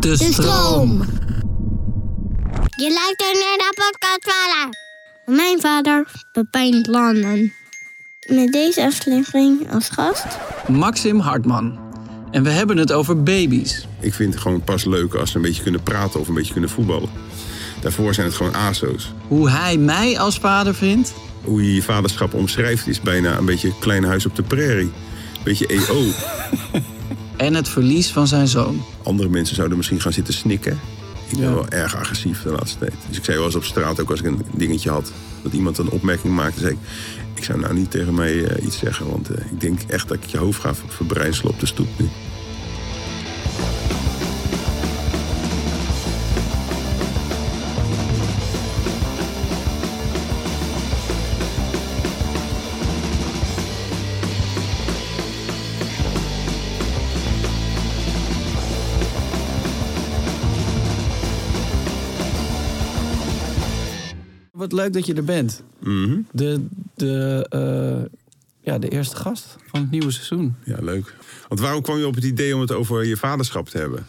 De stroom. Je luistert naar de podcast Wala. Mijn vader, Pepijn Landen. Met deze aflevering als gast... Maxim Hartman. En we hebben het over baby's. Ik vind het gewoon pas leuk als ze een beetje kunnen praten of een beetje kunnen voetballen. Daarvoor zijn het gewoon ASO's. Hoe hij mij als vader vindt. Hoe je je vaderschap omschrijft is bijna een beetje een klein huis op de prairie. Een beetje E EO. En het verlies van zijn zoon. Andere mensen zouden misschien gaan zitten snikken. Ik ben wel erg agressief de laatste tijd. Dus ik zei wel eens op straat, ook als ik een dingetje had, dat iemand een opmerking maakte, zei ik, ik zou nou niet tegen mij eh, iets zeggen, want eh, ik denk echt dat ik je hoofd ga ver- verbrijzelen op de stoep nu. Wat leuk dat je er bent. De, de, eh, ja, de eerste gast van het nieuwe seizoen. Ja, leuk. Want waarom kwam je op het idee om het over je vaderschap te hebben?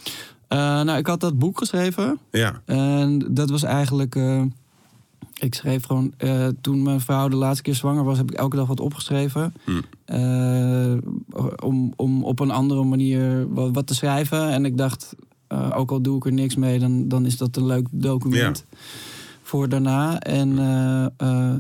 Eh, nou, ik had dat boek geschreven. Ja. En dat was eigenlijk. eh, ik schreef gewoon. eh, toen mijn vrouw de laatste keer zwanger was, heb ik elke dag wat opgeschreven. Eh, om, om op een andere manier wat, wat te schrijven. En ik dacht, eh, ook al doe ik er niks mee, dan, dan is dat een leuk document voor daarna. En eh, eh,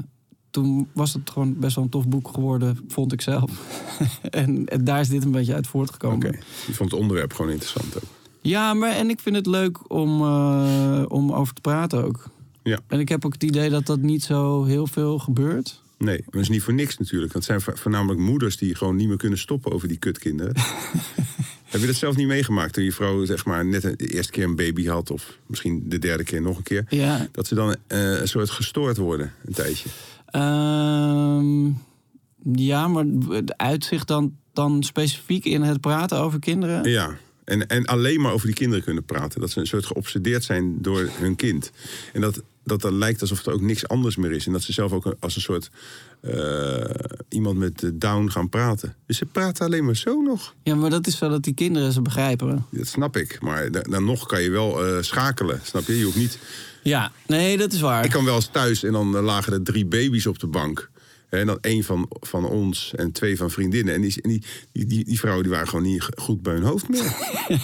toen was het gewoon best wel een tof boek geworden, vond ik zelf. en, en daar is dit een beetje uit voortgekomen. Oké. Je vond het onderwerp gewoon interessant ook. Ja, maar en ik vind het leuk om, eh, om over te praten ook. Ja. En ik heb ook het idee dat dat niet zo heel veel gebeurt. Nee, maar dat is niet voor niks natuurlijk. Want het zijn vo- voornamelijk moeders die gewoon niet meer kunnen stoppen over die kutkinderen. Heb je dat zelf niet meegemaakt toen je vrouw zeg maar, net een- de eerste keer een baby had... of misschien de derde keer nog een keer? Ja. Dat ze dan eh, een soort gestoord worden een tijdje. Ehm, ja, maar het uitzicht dan, dan specifiek in het praten over kinderen. Ja, en, en alleen maar over die kinderen kunnen praten. Dat ze een soort geobsedeerd zijn door hun kind. En dat, dat dan lijkt alsof er ook niks anders meer is. En dat ze zelf ook als een soort eh, iemand met eh, down gaan praten. Dus ze praten alleen maar zo nog. Ja, maar dat is wel dat die kinderen ze begrijpen. Dat snap ik, maar da- dan nog kan je wel eh, schakelen, snap je? Je hoeft niet... Ja, nee, dat is waar. Ik kan wel eens thuis en dan eh, lagen er drie baby's op de bank. Hè, En dan één van, van ons en twee van vriendinnen. En die, en die, die, die, die vrouwen die waren gewoon niet g- goed bij hun hoofd meer.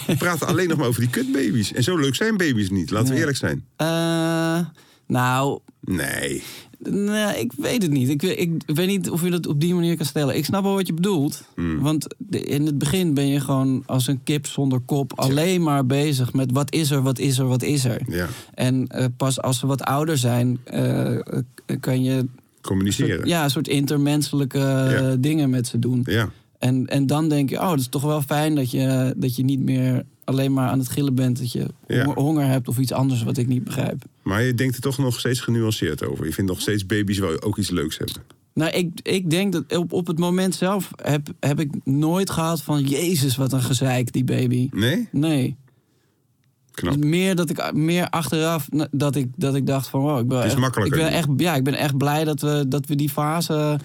Die praten alleen nog maar over die kutbaby's. En zo leuk zijn baby's niet, laten we eerlijk zijn. Eh, nou, Nee. Nee, ik weet het niet. Ik, we- ik weet niet of je dat op die manier kan stellen. Ik snap wel wat je bedoelt. Hmm. Want de- in het begin ben je gewoon als een kip zonder kop alleen maar bezig met wat is er, wat is er, wat is er. Ja. En eh, pas als ze wat ouder zijn, eh, eh, kan je Communiceren. ja, een soort intermenselijke eh, Ja. dingen met ze doen. Ja. En, en dan denk je, oh, dat is toch wel fijn dat je, dat je niet meer alleen maar aan het gillen bent. Dat je Ja. honger, honger hebt of iets anders wat ik niet begrijp. Maar je denkt er toch nog steeds genuanceerd over. Je vindt nog steeds baby's wel ook iets leuks hebben. Nou, ik, ik denk dat op, op het moment zelf heb, heb ik nooit gehad van... Jezus, wat een gezeik, die baby. Nee? Nee. Dus Knap. Meer, dat ik, meer achteraf na- dat ik, dat ik dacht van... Wow, ik ben is echt, makkelijker Ik ben nu. echt, ja, ik ben echt blij dat we, dat we die fase...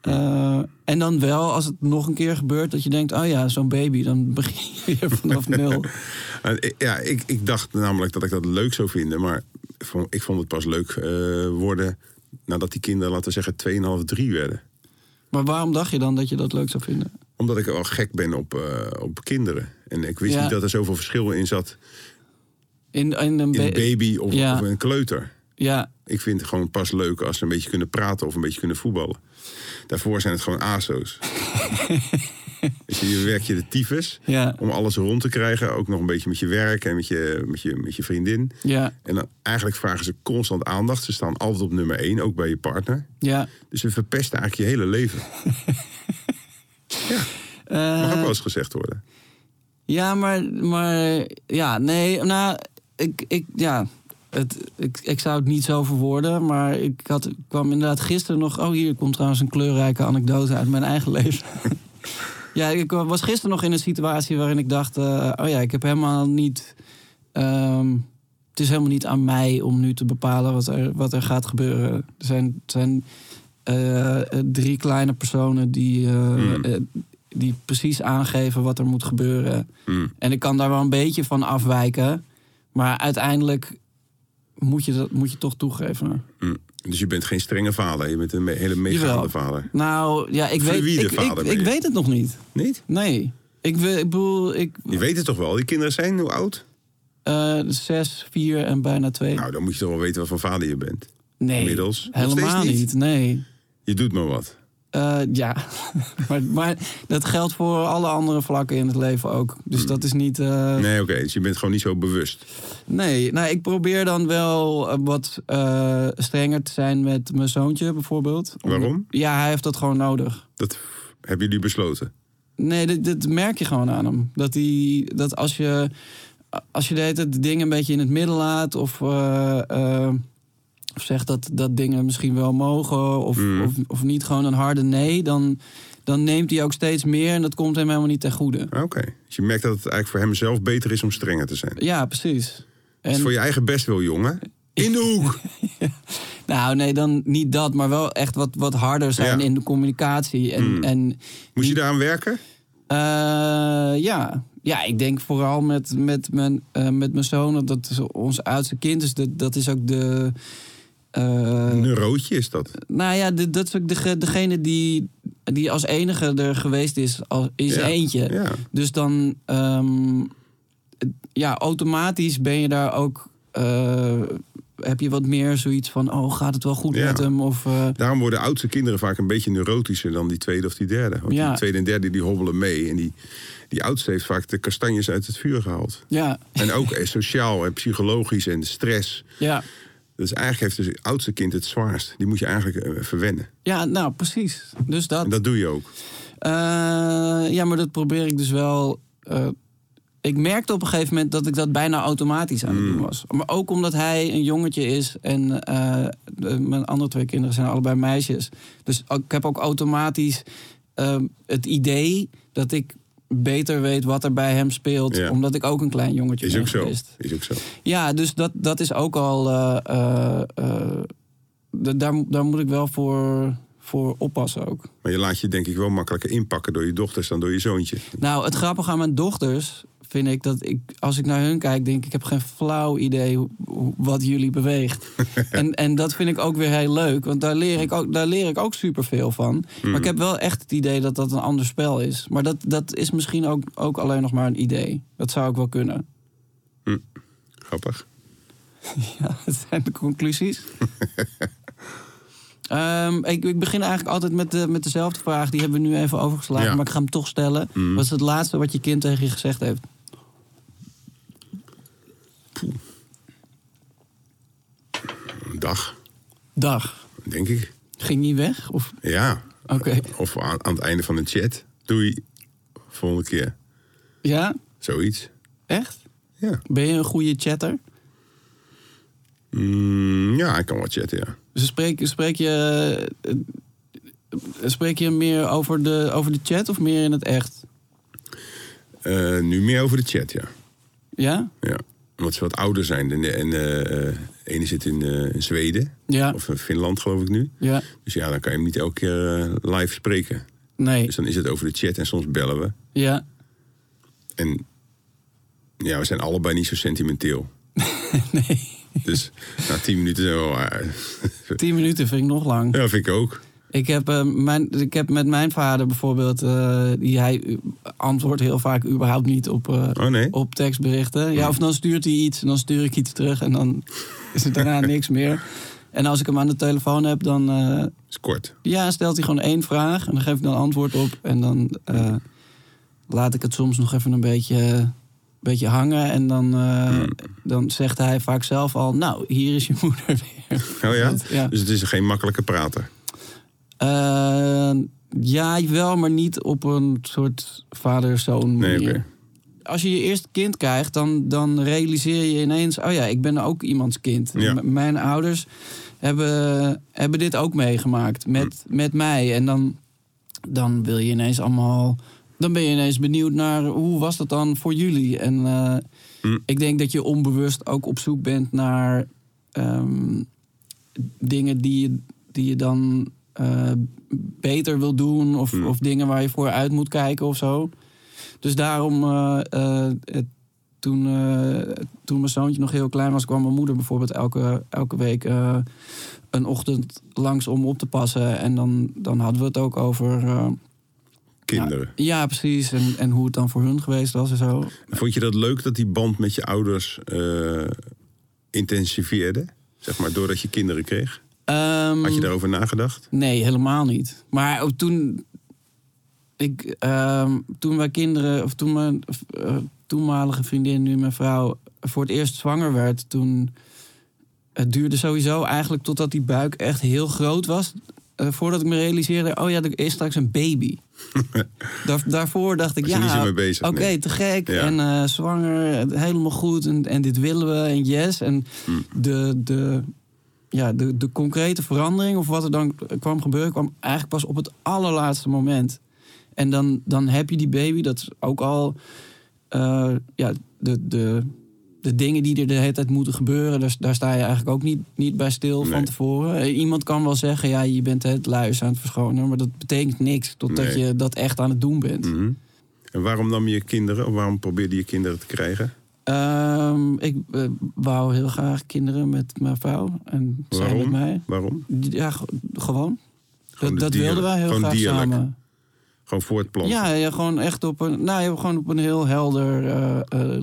eh, en dan wel, als het nog een keer gebeurt... dat je denkt, oh ja, zo'n baby, dan begin je weer vanaf nul. En ik- eh, Ja, ik, ik dacht namelijk dat ik dat leuk zou vinden. Maar ik vond- ik vond het pas leuk eh, worden nadat die kinderen, laten we zeggen, 2,5, 3 werden. Maar waarom dacht je dan dat je dat leuk zou vinden? Omdat ik wel gek ben op, eh, op kinderen. En ik wist Ja. niet dat er zoveel verschil in zat In, in een in ba- een baby of, Ja. of een kleuter. Ja, Ik vind het gewoon pas leuk als ze een beetje kunnen praten of een beetje kunnen voetballen. Daarvoor zijn het gewoon ASO's. dus je werk je de tyfus Ja. om alles rond te krijgen. Ook nog een beetje met je werk en met je, met je, met je vriendin. ja, En dan eigenlijk vragen ze constant aandacht. Ze staan altijd op nummer één, ook bij je partner. ja. Dus ze verpesten eigenlijk je Eh, hele leven. ja, mag ook wel eens gezegd worden. Ja, maar, maar ja, nee, nou, ik, ik, ja, het, ik, ik zou het niet zo verwoorden, maar ik, had, ik kwam inderdaad gisteren nog... Oh, hier komt trouwens een kleurrijke anekdote uit mijn eigen leven. ja, ik was gisteren nog in een situatie waarin ik dacht... eh, oh ja, ik heb helemaal niet... ehm, het is helemaal niet aan mij om nu te bepalen wat er, wat er gaat gebeuren. Er zijn, het zijn eh, eh, drie kleine personen die, eh, eh, die precies aangeven wat er moet gebeuren. Mm. En ik kan daar wel een beetje van afwijken. Maar uiteindelijk moet je, dat, moet je toch toegeven. Mm. Dus je bent geen strenge vader, je bent een me- hele meegaande Jawel. vader. Nou, ja, ik weet, Fluïde ik, ik, vader ben ik je. weet het nog niet. Niet? Nee. Ik, we- ik bedoel, ik, Je weet het toch wel? Die kinderen zijn hoe oud? eh, zes, vier en bijna twee. Nou, dan moet je toch wel weten wat voor vader je bent. nee, inmiddels nog helemaal steeds niet. niet. Nee. Je doet maar wat. Eh, ja, maar, maar dat geldt voor alle andere vlakken in het leven ook. Dus dat is niet... eh, Hmm. Nee, oké. dus je bent gewoon niet zo bewust. Nee, nou, ik probeer dan wel eh, wat eh, strenger te zijn met mijn zoontje bijvoorbeeld. Om- Waarom? Ja, hij heeft dat gewoon nodig. Dat hebben jullie besloten. Nee, dat, dat merk je gewoon aan hem. Dat, die, dat als je, als je de hele tijd de dingen een beetje in het midden laat... of, eh, eh, of zegt dat, dat dingen misschien wel mogen of, Mm. of, of niet gewoon een harde nee... Dan, dan neemt hij ook steeds meer en dat komt hem helemaal niet ten goede. Ah, Oké. Dus je merkt dat het eigenlijk voor hemzelf beter is om strenger te zijn. Ja, precies. En, Dus voor je eigen best wil, jongen. In de hoek! Nou, nee, dan niet dat, maar wel echt wat, wat harder zijn Ja. Mm. in de communicatie. En, en Moest je daaraan werken? eh, ja. ja, ik denk vooral met, met, mijn, eh, met mijn zoon, dat is ons oudste kind, dus dat, dat is ook de. eh, Een roodje is dat. nou ja, de- dat is ook dege- degene die, die als enige er geweest is, als, is Ja, eentje. ja. Dus dan, ehm, het- ja, automatisch ben je daar ook. eh, heb je wat meer zoiets van, oh, gaat het wel goed Ja. met hem? Of, eh, Daarom worden oudste kinderen vaak een beetje neurotischer dan die tweede of die derde. Want Ja. die tweede en derde die hobbelen mee. En die, die oudste heeft vaak de kastanjes uit het vuur gehaald. ja, En ook eh, sociaal en psychologisch en stress. ja. Dus eigenlijk heeft het oudste kind het zwaarst. Die moet je eigenlijk eh, verwennen. Ja, nou precies. Dus dat. En dat doe je ook. Eh, ja, maar dat probeer ik dus wel. eh, ik merkte op een gegeven moment dat ik dat bijna automatisch aan het Hmm. doen was. Maar ook omdat hij een jongetje is en eh, de- mijn andere twee kinderen zijn allebei meisjes. Dus ook- ik heb ook automatisch eh, het idee dat ik beter weet wat er bij hem speelt. Ja. Omdat ik ook een klein jongetje Is ben ook zo. geweest. Is ook zo. Ja, dus dat, dat is ook al. eh, eh, eh, d- daar, daar moet ik wel voor, voor oppassen ook. Maar je laat je denk ik wel makkelijker inpakken door je dochters dan door je zoontje. Nou, het grappige aan mijn dochters vind ik dat ik, als ik naar hun kijk, denk ik, ik heb geen flauw idee hoe- hoe- wat jullie beweegt. en, en dat vind ik ook weer heel leuk, want daar leer ik ook, daar leer ik ook superveel van. Maar ik heb wel echt het idee dat dat een ander spel is. Maar dat, dat is misschien ook, ook alleen nog maar een idee. Dat zou ook wel kunnen. Grappig. Ja, dat zijn de conclusies. Ehm, ik, ik begin eigenlijk altijd met, de, met dezelfde vraag. Die hebben we nu even overgeslagen, Ja. maar ik ga hem toch stellen. Wat is het laatste wat je kind tegen je gezegd heeft? Een dag, Dag. denk ik. Ging niet weg? Of... Ja. Oké. Of aan, aan het einde van een chat. Doei. Volgende keer. Ja? Zoiets. Echt? Ja. Ben je een goede chatter? Mm, ja, ik kan wel chatten, ja. Dus spreek, spreek je... eh, Spreek je meer over de, over de chat of meer in het echt? Eh, nu meer over de chat, ja. Ja? ja. Omdat ze wat ouder zijn. En, en eh, eh, ene zit in, eh, in Zweden. Ja. Of in Finland, geloof ik nu. Ja. Dus ja, dan kan je hem niet elke keer eh, live spreken. Nee. Dus dan is het over de chat en soms bellen we. Ja. En ja, we zijn allebei niet zo sentimenteel. Nee. Dus na tien minuten zijn we wel... eh, Tien minuten vind ik nog lang. ja, vind ik ook. Ik heb, eh, mijn, ik heb met mijn vader bijvoorbeeld, eh, die, hij eh, antwoordt heel vaak überhaupt niet op, eh, Oh, nee? op tekstberichten. Ja, of dan stuurt hij iets en dan stuur ik iets terug en dan is het daarna niks meer. En als ik hem aan de telefoon heb, dan eh, is kort. ja, stelt hij gewoon één vraag en dan geef ik dan antwoord op. En dan eh, laat ik het soms nog even een beetje, beetje hangen. En dan, eh, dan zegt hij vaak zelf al, nou, hier is je moeder weer. Oh ja? Ja. Dus het is geen makkelijke prater. Eh, ja, wel, maar niet op een soort vader-zoon Nee, manier. oké. als je je eerste kind krijgt, dan, dan realiseer je ineens... oh ja, ik ben ook iemands kind. Ja. M- mijn ouders hebben, hebben dit ook meegemaakt met, met mij. En dan, dan wil je ineens allemaal... dan ben je ineens benieuwd naar hoe was dat dan voor jullie. En eh, ik denk dat je onbewust ook op zoek bent naar... ehm, dingen die je, die je dan eh, beter wil doen. Of, of dingen waar je voor uit moet kijken of zo. Dus daarom, eh, eh, het- toen, eh, toen mijn zoontje nog heel klein was, kwam mijn moeder bijvoorbeeld elke, elke week eh, een ochtend langs om op te passen. En dan, dan hadden we het ook over. eh, Kinderen. ja, precies. En, en hoe het dan voor hun geweest was en zo. Vond je dat leuk dat die band met je ouders eh, intensiveerde? Zeg maar, doordat je kinderen kreeg? Ehm, Had je daarover nagedacht? Nee, helemaal niet. Maar ook toen. Ik, ehm, toen wij kinderen, of toen mijn eh, toenmalige vriendin, nu mijn vrouw, voor het eerst zwanger werd, toen. Het duurde sowieso eigenlijk totdat die buik echt heel groot was. eh, voordat ik me realiseerde, oh ja, er is straks een baby. Daar, daarvoor dacht ik, Was je niet zo ja, mee oké, bezig, nee. te gek. Ja. En eh, zwanger, het- helemaal goed. En, en dit willen we, en yes. En Hm. de, de, ja, de, de concrete verandering of wat er dan kwam gebeuren, kwam eigenlijk pas op het allerlaatste moment. En dan, dan heb je die baby, dat is ook al eh, ja, de, de, de dingen die er de hele tijd moeten gebeuren, daar, daar sta je eigenlijk ook niet, niet bij stil Nee. van tevoren. Eh, Iemand kan wel zeggen, ja, je bent het luis aan het verschonen, maar dat betekent niks totdat Nee. je dat echt aan het doen bent. Mhm. En waarom nam je kinderen? Of waarom probeerde je kinderen te krijgen? Ehm, ik eh, wou heel graag kinderen met mijn vrouw en zij met Waarom? mij. Waarom? Ja, ge- gewoon. dat Gewoon de dat dier- wilden wij heel gewoon graag dierlijk. samen. Gewoon voortplanten? Ja, ja, gewoon echt op een, nou, ja, gewoon op een heel helder eh, eh,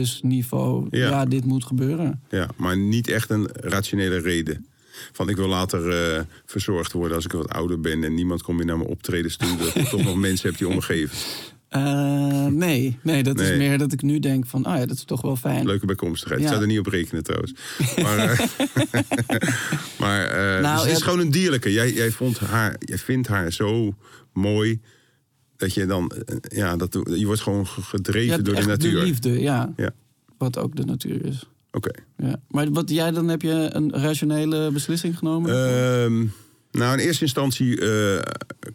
liefdesniveau. Ja. Ja. dit moet gebeuren. Ja, maar niet echt een rationele reden. Van ik wil later eh, verzorgd worden als ik wat ouder ben en niemand komt meer naar mijn optredens toe. Dat ik toch nog mensen heb die omgeven. Eh, nee, nee, dat Nee. is meer dat ik nu denk van, ah ja, dat is toch wel fijn. Leuke bijkomstigheid. Ik Ja. zou er niet op rekenen trouwens. Maar, eh, maar eh, Nou, dus het is ja, gewoon een dierlijke. Jij, jij, vond haar, jij vindt haar zo mooi dat je dan, eh, ja, dat, je wordt gewoon ge- Je gedreven hebt door de echt natuur. De liefde, ja. Ja, Wat ook de natuur is. oké. Ja. Maar wat jij dan heb je een rationele beslissing genomen? Ehm, nou, in eerste instantie eh,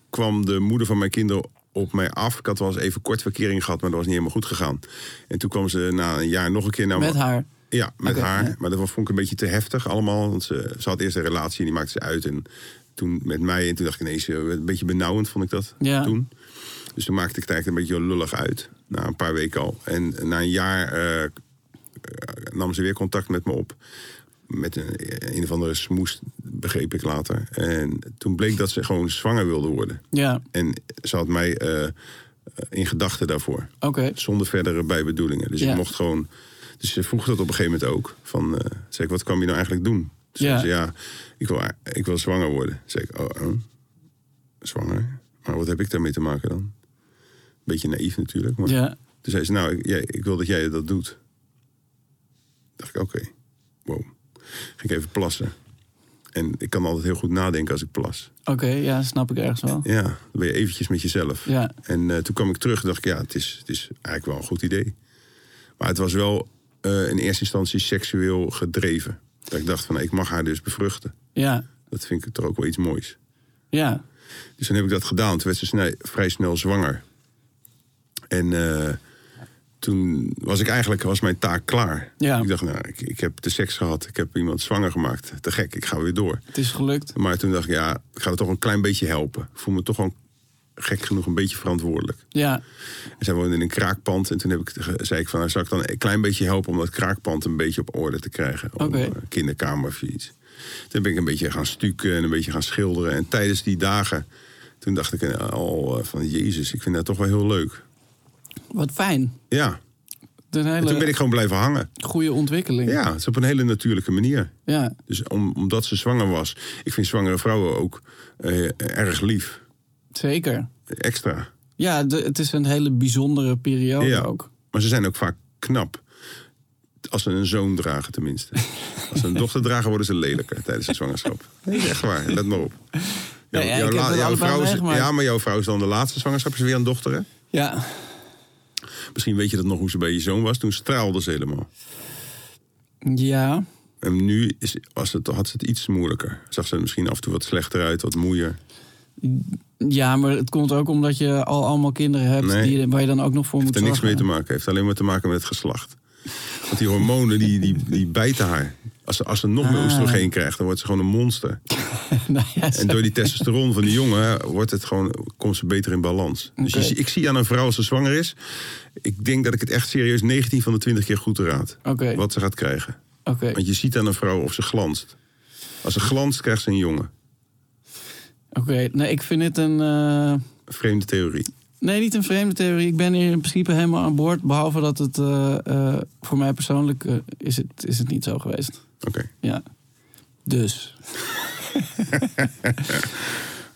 kwam de moeder van mijn kinderen op mij af. Ik had wel eens even kort verkering gehad, maar dat was niet helemaal goed gegaan. En toen kwam ze na een jaar nog een keer naar me. met haar. Ja, met Oké, haar. ja. Maar dat vond ik een beetje te heftig allemaal. Want ze, ze had eerst een relatie en die maakte ze uit. En toen met mij. En toen dacht ik ineens, eh, een beetje benauwend vond ik dat Ja. toen. Dus toen maakte ik het eigenlijk een beetje lullig uit. Na een paar weken al. En na een jaar eh, eh, nam ze weer contact met me op. Met een, een of andere smoes, begreep ik later. En toen bleek dat ze gewoon zwanger wilde worden. Ja, En ze had mij eh, in gedachten daarvoor oké. zonder verdere bijbedoelingen. Dus Ja. ik mocht gewoon. Dus ze vroeg dat op een gegeven moment ook. Van, eh, zeg ik, wat kwam je nou eigenlijk doen? Toen Ja. zei ze, ja, ik wil, ik wil zwanger worden. Zeg ik, oh, oh, zwanger? Maar wat heb ik daarmee te maken dan? Beetje naïef natuurlijk. Maar Ja. Toen zei ze, nou, ik, jij, ik wil dat jij dat doet. Dacht ik, oké, wow. Ging ik even plassen. En ik kan altijd heel goed nadenken als ik plas. Oké, ja, snap ik ergens wel. Ja, dan ben je eventjes met jezelf. Ja. En eh, toen kwam ik terug en dacht ik, ja, het is, het is eigenlijk wel een goed idee. Maar het was wel eh, in eerste instantie seksueel gedreven. Dat ik dacht van, ik mag haar dus bevruchten. Ja, Dat vind ik toch ook wel iets moois. ja. Dus dan heb ik dat gedaan. Toen werd ze snel, vrij snel zwanger. En eh, toen was ik eigenlijk, was mijn taak klaar. Ja. Ik dacht, nou, ik, ik heb de seks gehad. Ik heb iemand zwanger gemaakt. Te gek, ik ga weer door. Het is gelukt. Maar toen dacht ik, ja, ik ga er toch een klein beetje helpen. Ik voel me toch gewoon gek genoeg een beetje verantwoordelijk. Ja, En zij woonde in een kraakpand. En toen heb ik, ge- zei ik van, nou, zou ik dan een klein beetje helpen... om dat kraakpand een beetje op orde te krijgen. Om Oké. eh, kinderkamer of iets. Toen ben ik een beetje gaan stukken en een beetje gaan schilderen. En tijdens die dagen, toen dacht ik eh, al eh, van... Jezus, ik vind dat toch wel heel leuk. wat fijn. Ja, Het is een en toen ben hele ik gewoon blijven hangen. goede ontwikkeling. Ja, het is op een hele natuurlijke manier. ja. Dus om, omdat ze zwanger was. Ik vind zwangere vrouwen ook eh, erg lief. zeker. Extra. Ja, de- het is een hele bijzondere periode ook. Maar ze zijn ook vaak knap. Als ze een zoon dragen, tenminste. Als ze een dochter dragen, worden ze lelijker tijdens de zwangerschap. Nee, echt waar, let maar op. Jouw- Nee, ja, jouw ik heb la- dat jouw allebei vrouw is, meegemaakt. ja, maar jouw vrouw is dan de laatste zwangerschap, is weer een dochter. hè? Ja, Misschien weet je dat nog hoe ze bij je zoon was. Toen straalde ze helemaal. Ja, En nu is, was het, had ze het iets moeilijker. Zag ze er misschien af en toe wat slechter uit, wat moeier. ja, maar het komt ook omdat je al allemaal kinderen hebt Nee. die, waar je dan ook nog voor Heeft moet er niks mee zorgen. te maken. Heeft alleen maar te maken met het geslacht. Want die hormonen, die, die, die bijten haar. Als ze, als ze nog meer Ah. oestrogeen krijgt, dan wordt ze gewoon een monster. nou, ja, En door die testosteron van die jongen wordt het gewoon, komt ze beter in balans. Dus je Oké. zie- ik zie aan een vrouw als ze zwanger is. Ik denk dat ik het echt serieus 19 van de 20 keer goed raad. Oké. Wat ze gaat krijgen. Oké, Want je ziet aan een vrouw of ze glanst. Als ze glanst, krijgt ze een jongen. oké. nee, ik vind dit een... eh, Vreemde theorie. Nee, niet een vreemde theorie. Ik ben hier in principe helemaal aan boord. Behalve dat het eh, eh, voor mij persoonlijk eh, is, het, is het niet zo geweest. Oké. Ja. Dus.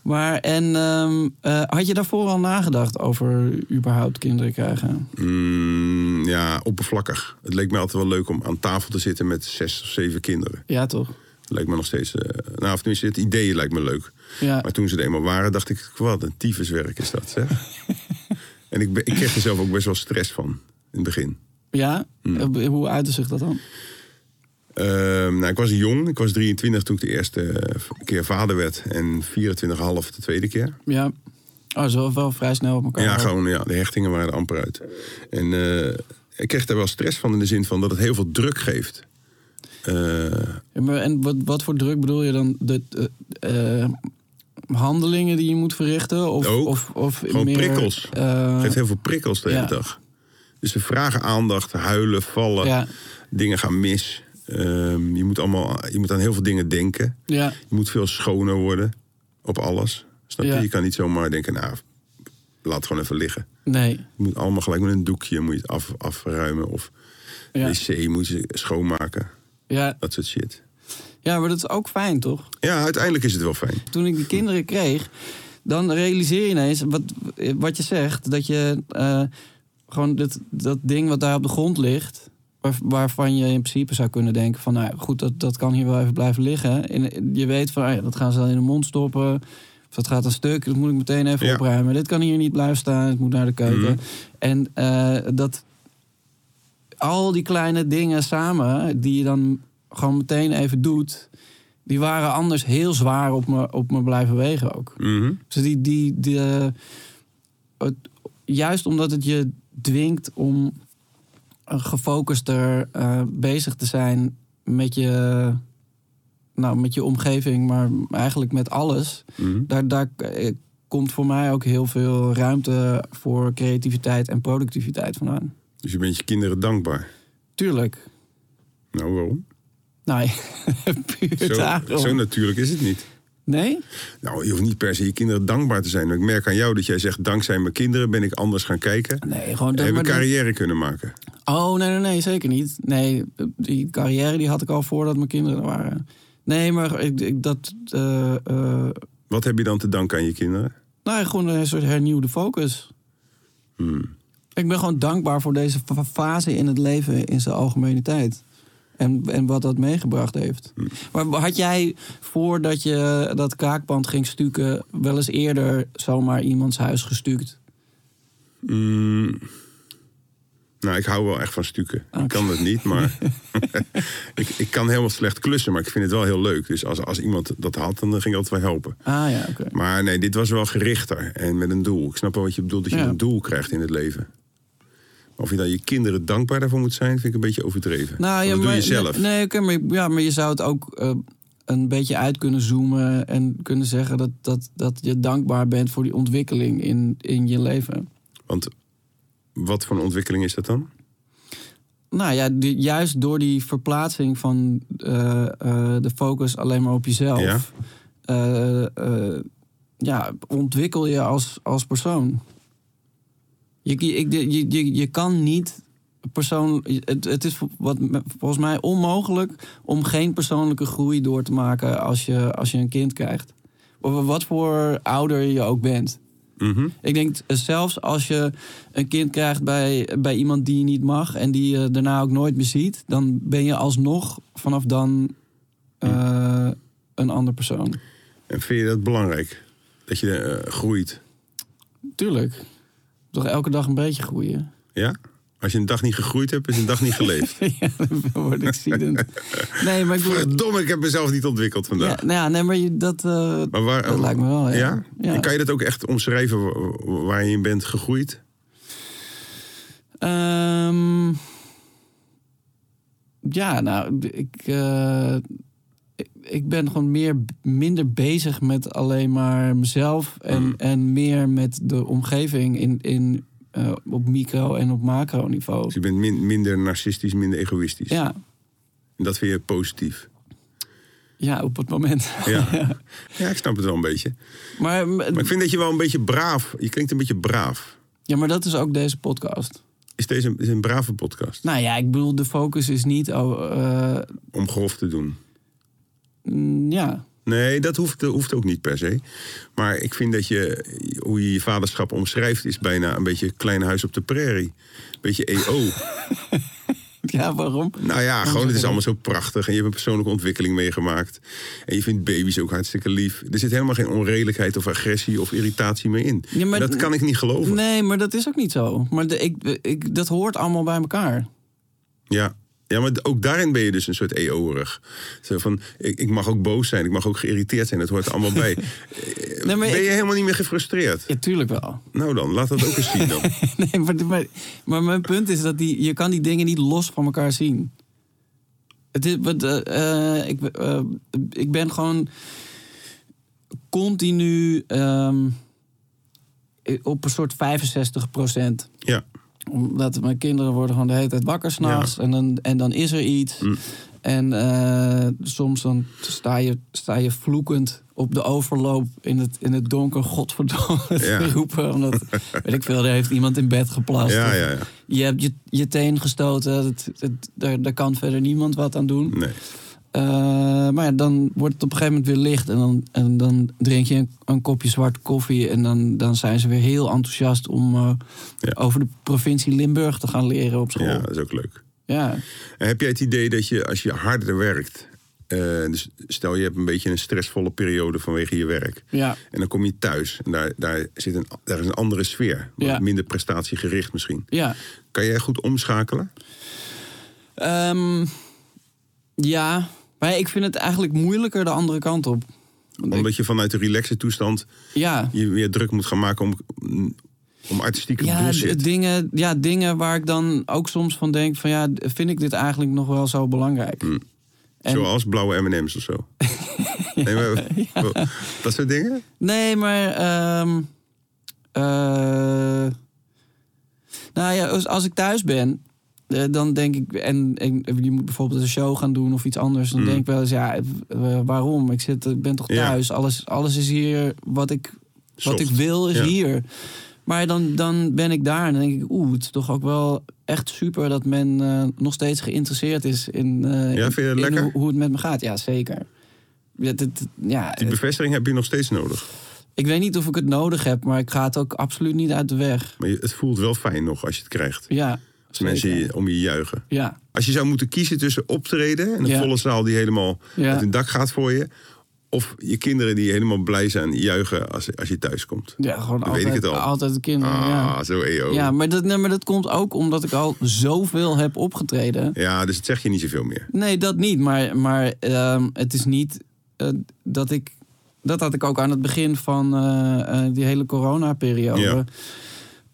maar en ehm, eh, had je daarvoor al nagedacht over überhaupt kinderen krijgen? Mm, ja, oppervlakkig. Het leek mij altijd wel leuk om aan tafel te zitten met zes of zeven kinderen. Ja, toch? Dat lijkt me nog steeds. eh, nou, of tenminste, het idee lijkt me leuk. Ja. Maar toen ze er eenmaal waren, dacht ik: wat een tyfuswerk is dat, zeg. en ik, be- ik kreeg er zelf ook best wel stress van in het begin. Ja? Eh, Hoe uitte zich dat dan? Ehm, nou, ik was jong, ik was 23 toen ik de eerste eh, keer vader werd. En 24,5 de tweede keer. Ja. Oh, zo wel, wel vrij snel op elkaar. Ja, gewoon, ja, de hechtingen waren er amper uit. En eh, ik kreeg daar wel stress van in de zin van dat het heel veel druk geeft. Eh, Ja, maar en wat, wat voor druk bedoel je dan? De, eh, eh, handelingen die je moet verrichten? Of, Ook. of, of Gewoon meer, prikkels. eh, geeft heel veel prikkels de hele ja. dag. Dus ze vragen aandacht, huilen, vallen. Ja. Dingen gaan mis. Ehm, je, moet allemaal, je moet aan heel veel dingen denken. ja, Je moet veel schoner worden op alles. Snap je? Ja. Je kan niet zomaar denken, nou, laat het gewoon even liggen. nee. Je moet allemaal gelijk met een doekje moet je het af, afruimen. Of Ja. wc moet je schoonmaken. Ja. Dat soort shit. ja, maar dat is ook fijn, toch? Ja, uiteindelijk is het wel fijn. Toen ik die kinderen kreeg, dan realiseer je ineens wat, wat je zegt. Dat je eh, gewoon dit, dat ding wat daar op de grond ligt... waar- Waarvan je in principe zou kunnen denken van... nou goed, dat, dat kan hier wel even blijven liggen. En je weet van, ah ja, dat gaan ze dan in de mond stoppen. Of dat gaat een stuk, dat moet ik meteen even Ja. opruimen. Dit kan hier niet blijven staan, het moet naar de keuken. Mhm. En eh, dat al die kleine dingen samen, die je dan gewoon meteen even doet... die waren anders heel zwaar op me, op me blijven wegen ook. Mhm. Dus die, die, die, eh, het- juist omdat het je dwingt om eh, gefocuster eh, bezig te zijn met je, nou, met je omgeving, maar eigenlijk met alles. Mhm. Daar, daar eh, komt voor mij ook heel veel ruimte voor creativiteit en productiviteit vandaan. Dus je bent je kinderen dankbaar. Tuurlijk. Nou, waarom? Nou, puur Zo, daarom. zo natuurlijk is het niet. Nee? Nou, je hoeft niet per se je kinderen dankbaar te zijn. Ik merk aan jou dat jij zegt, dankzij mijn kinderen ben ik anders gaan kijken. Nee, gewoon... En heb maar ik carrière kunnen maken. Oh, nee, nee, nee, zeker niet. Nee, die carrière die had ik al voordat mijn kinderen er waren. Nee, maar ik, ik, dat... eh, eh, Wat heb je dan te danken aan je kinderen? nou, ja, gewoon een soort hernieuwde focus. Hmm. Ik ben gewoon dankbaar voor deze fa- fase in het leven in zijn algemeniteit. En, en wat dat meegebracht heeft. Maar had jij, voordat je dat kraakband ging stukken... wel eens eerder zomaar iemands huis gestuukt? Mm. Nou, ik hou wel echt van stukken. Oké. Ik kan dat niet, maar ik, ik kan helemaal slecht klussen, maar ik vind het wel heel leuk. Dus als, als iemand dat had, dan ging ik altijd wel helpen. Ah ja, oké. Maar nee, dit was wel gerichter en met een doel. Ik snap wel wat je bedoelt, dat je Ja. een doel krijgt in het leven. Maar Of je dan je kinderen dankbaar daarvoor moet zijn, vind ik een beetje overdreven. Nou, Want ja, dat maar, doe je zelf. Nee, nee, oké, maar, ja, maar je zou het ook eh, een beetje uit kunnen zoomen en kunnen zeggen dat, dat, dat je dankbaar bent voor die ontwikkeling in, in je leven. Want wat voor een ontwikkeling is dat dan? Nou ja, die- juist door die verplaatsing van eh, eh, de focus alleen maar op jezelf. Ja. eh, eh, ja, ontwikkel je als, als persoon. Je, je, ik- je, je, je kan niet persoon. Het, het is wat, me- volgens mij onmogelijk om geen persoonlijke groei door te maken als je, als je een kind krijgt. Of Wat voor ouder je ook bent. Mhm. Ik denk eh, zelfs als je een kind krijgt bij, bij iemand die je niet mag en die je daarna ook nooit meer ziet, dan ben je alsnog vanaf dan eh, een ander persoon. En vind je dat belangrijk? Dat je eh, groeit? Tuurlijk. Toch elke dag een beetje groeien. Ja? Als je een dag niet gegroeid hebt, is een dag niet geleefd. ja, dan word ik ziedend. Nee, maar ik bedoel... Verdomme, ik heb mezelf niet ontwikkeld Ja, vandaag. nou ja, nee, maar je, dat, eh, Maar waar, dat lijkt me wel. Ja? Ja? Ja. En kan je dat ook echt omschrijven wa- waar je in bent gegroeid? Ehm, ja, nou, ik, eh, ik, ik ben gewoon meer, minder bezig met alleen maar mezelf. En, en meer met de omgeving in, in, eh, op micro- en op macro-niveau. Dus je bent min- minder narcistisch, minder egoïstisch. Ja, En dat vind je positief. ja, op het moment. Ja. ja, ik snap het wel een beetje. Maar, Maar ik vind dat je wel een beetje braaf... Je klinkt een beetje braaf. ja, maar dat is ook deze podcast. Is deze een, is een brave podcast? Nou ja, ik bedoel, de focus is niet... Oh, eh, Om grof te doen. mm, ja, Nee, dat hoeft, dat hoeft ook niet per se. Maar ik vind dat je, hoe je je vaderschap omschrijft, is bijna een beetje klein huis op de prairie. Een beetje E EO. ja, waarom? nou ja, gewoon, het is allemaal zo prachtig. En je hebt een persoonlijke ontwikkeling meegemaakt. En je vindt baby's ook hartstikke lief. Er zit helemaal geen onredelijkheid of agressie of irritatie meer in. Ja, maar- dat kan ik niet geloven. Nee, maar dat is ook niet zo. Maar de, ik, ik, dat hoort allemaal bij elkaar. Ja. Ja, maar ook daarin ben je dus een soort eeuwig. Zo van, ik, ik mag ook boos zijn, ik mag ook geïrriteerd zijn, dat hoort er allemaal bij. Nee, maar ben je ik- helemaal niet meer gefrustreerd? Ja, tuurlijk wel. Nou dan, laat dat ook eens zien dan. Nee, maar, maar, maar mijn punt is dat die, je kan die dingen niet los van elkaar zien. Het is, wat, eh, eh, ik, eh, ik ben gewoon continu ehm, op een soort 65 procent. Ja. Omdat mijn kinderen worden gewoon de hele tijd wakker s'nachts. Ja. Mm. En, dan, en dan is er iets. En eh, soms dan sta je, sta je vloekend op de overloop in het, in het donker godverdomme Ja. te roepen. Omdat, weet ik veel, er heeft iemand in bed geplast. Ja, Of ja, ja. Je hebt je, je teen gestoten. Het, het, daar, daar kan verder niemand wat aan doen. Nee. Eh, maar ja, dan wordt het op een gegeven moment weer licht. En dan, en dan drink je een, een kopje zwarte koffie. En dan, dan zijn ze weer heel enthousiast om eh, Ja. over de provincie Limburg te gaan leren op school. Ja, Ja. dat is ook leuk. En heb jij het idee dat je als je harder werkt, eh, dus stel je hebt een beetje een stressvolle periode vanwege je werk, Ja. en dan kom je thuis en daar, daar, zit een, daar is een andere sfeer, wat Ja. minder prestatiegericht misschien. ja. Kan jij goed omschakelen? Ehm, ja, maar ik vind het eigenlijk moeilijker de andere kant op. Want ik- Omdat je vanuit de relaxe toestand ja, je weer druk moet gaan maken om, om artistieke ja, d- bullshit. dingen, ja, dingen waar ik dan ook soms van denk: van ja, d- vind ik dit eigenlijk nog wel zo belangrijk? en- Zoals blauwe M&M's of zo. nee, maar, Dat soort dingen? Nee, maar. ehm, eh, nou ja, als, als ik thuis ben, eh, dan denk ik. En, en je moet bijvoorbeeld een show gaan doen of iets anders. Dan denk ik wel eens, ja, eh, waarom? Ik, zit, ik ben toch Mm. Ja. thuis? Alles, alles is hier. Wat ik, wat Soft. ik wil is Ja. hier. Maar dan, dan ben ik daar en dan denk ik, oeh, het is toch ook wel echt super dat men eh, nog steeds geïnteresseerd is in, eh, in- vind je dat in lekker? hoe, hoe het met me gaat. Ja, zeker. Ja, dit- ja, Die bevestiging heb je nog steeds nodig. ik weet niet of ik het nodig heb, maar ik ga het ook absoluut niet uit de weg. Maar je- het voelt wel fijn nog als je het krijgt. Ja. Als mensen zeker. je- om je juichen. Ja. Als je zou moeten kiezen tussen optreden en een Ja. volle zaal die helemaal Ja. uit hun dak gaat voor je. Of je kinderen die helemaal blij zijn juichen als, als je thuis komt. Ja, gewoon Dan altijd, weet ik het al. altijd de kinderen. ah, ja. zo EO. Ja, Ja. maar dat, nee, maar dat komt ook omdat ik al zoveel heb opgetreden. dus het zeg je niet zoveel meer. Nee, dat niet. Maar, maar ehm, het is niet eh, dat ik. Dat had ik ook aan het begin van eh, eh, die hele coronaperiode. Ja.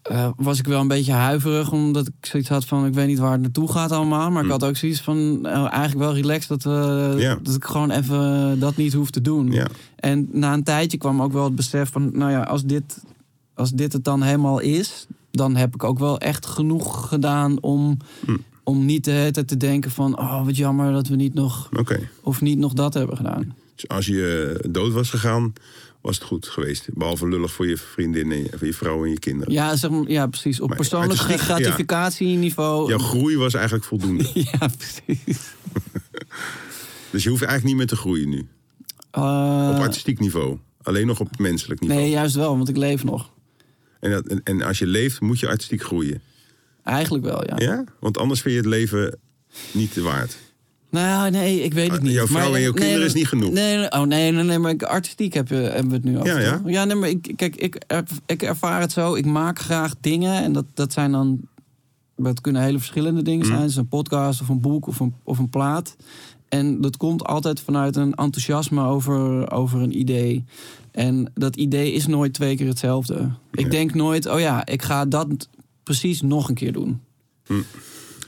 Eh, was ik wel een beetje huiverig, omdat ik zoiets had van: ik weet niet waar het naartoe gaat allemaal. Maar ik had ook zoiets van: eh, eigenlijk wel relaxed dat, we, Hm. Ja. dat ik gewoon even dat niet hoef te doen. Ja. En na een tijdje kwam ook wel het besef van: nou ja, als dit, als dit het dan helemaal is, dan heb ik ook wel echt genoeg gedaan om, Hm. om niet de hele tijd te denken van: oh, wat jammer dat we niet nog, Oké. of niet nog dat hebben gedaan. Dus als je eh, dood was gegaan, was het goed geweest. Behalve lullig voor je vriendin en je, voor je vrouw en je kinderen. Ja, zeg maar, ja precies. Op Maar persoonlijk artistiek, ja. gratificatieniveau. Jouw groei was eigenlijk voldoende. ja precies. dus je hoeft eigenlijk niet meer te groeien nu. Eh, Op artistiek niveau. Alleen nog op menselijk niveau. nee, juist wel, want ik leef nog. En, dat, en, en als je leeft, moet je artistiek groeien. Eigenlijk wel, ja. Ja? Want anders vind je het leven niet waard. Nou, nee, ik weet het Ah, niet. jouw vrouw Maar, en jouw nee, kinderen nee, is niet genoeg. Nee, nee, oh, nee, nee, nee, maar ik- artistiek heb, je- hebben we het nu over. Ja, ja. toch? ja nee, maar ik, kijk, ik, er- ik ervaar het zo. Ik maak graag dingen en dat, dat zijn dan dat kunnen hele verschillende Mm. dingen zijn. Het is een podcast of een boek of een, of een plaat. En dat komt altijd vanuit een enthousiasme over, over een idee. En dat idee is nooit twee keer hetzelfde. Ik denk nooit, oh ja, ik ga dat precies nog een keer doen.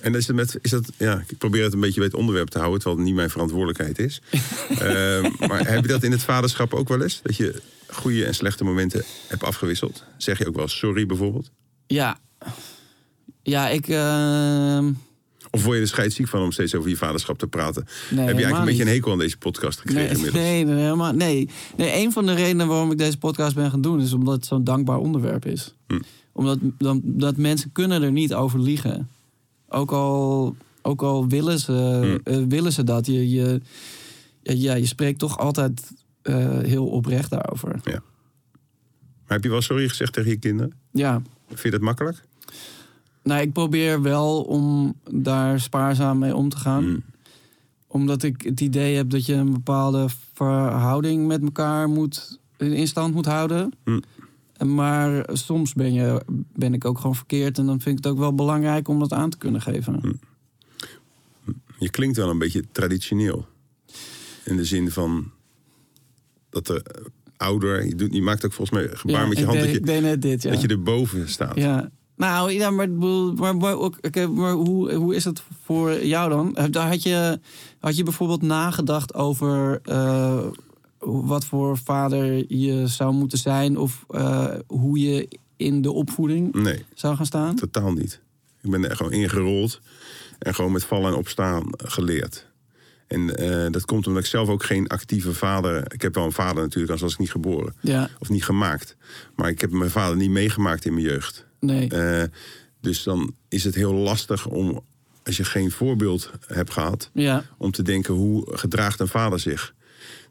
En is, het met, is dat, ja, ik probeer het een beetje bij het onderwerp te houden, terwijl het niet mijn verantwoordelijkheid is. Ehm, maar heb je dat in het vaderschap ook wel eens? Dat je goede en slechte momenten hebt afgewisseld? Zeg je ook wel eens sorry bijvoorbeeld? Ja, ja ik. ehm, Of word je er scheidsziek van om steeds over je vaderschap te praten? heb je eigenlijk helemaal een beetje niet. een hekel aan deze podcast gekregen nee, inmiddels? nee, nee, helemaal, nee. nee, een van de redenen waarom ik deze podcast ben gaan doen is omdat het zo'n dankbaar onderwerp is. Omdat dan, dat mensen kunnen er niet over liegen. Ook al, ook al willen, ze, eh, willen ze dat. Je, je, ja, je spreekt toch altijd eh, heel oprecht daarover. Ja. Maar heb je wel sorry gezegd tegen je kinderen? Ja, Vind je dat makkelijk? Nou, ik probeer wel om daar spaarzaam mee om te gaan. Hmm. Omdat ik het idee heb dat je een bepaalde verhouding met elkaar moet, in stand moet houden. Hmm. Maar soms ben, je, ben ik ook gewoon verkeerd. En dan vind ik het ook wel belangrijk om dat aan te kunnen geven. Hmm. Je klinkt wel een beetje traditioneel. In de zin van dat de eh, ouder, je, doet, je maakt ook volgens mij gebaar Ja, met je ik hand deed- dat je, ik deed net dit, ja. dat je erboven staat. Ja. Nou, ja, maar, ik bedoel, maar, maar ook, oké, maar hoe, hoe is dat voor jou dan? Heb- Had je, had je bijvoorbeeld nagedacht over eh, wat voor vader je zou moeten zijn? Of eh, hoe je in de opvoeding Nee, zou gaan staan? totaal niet. Ik ben er gewoon ingerold en gewoon met vallen en opstaan geleerd. En eh, dat komt omdat ik zelf ook geen actieve vader... Ik heb wel een vader natuurlijk, anders was ik niet geboren. Ja, Of niet gemaakt. Maar ik heb mijn vader niet meegemaakt in mijn jeugd. nee. Eh, dus dan is het heel lastig om, als je geen voorbeeld hebt gehad, ja, om te denken hoe gedraagt een vader zich.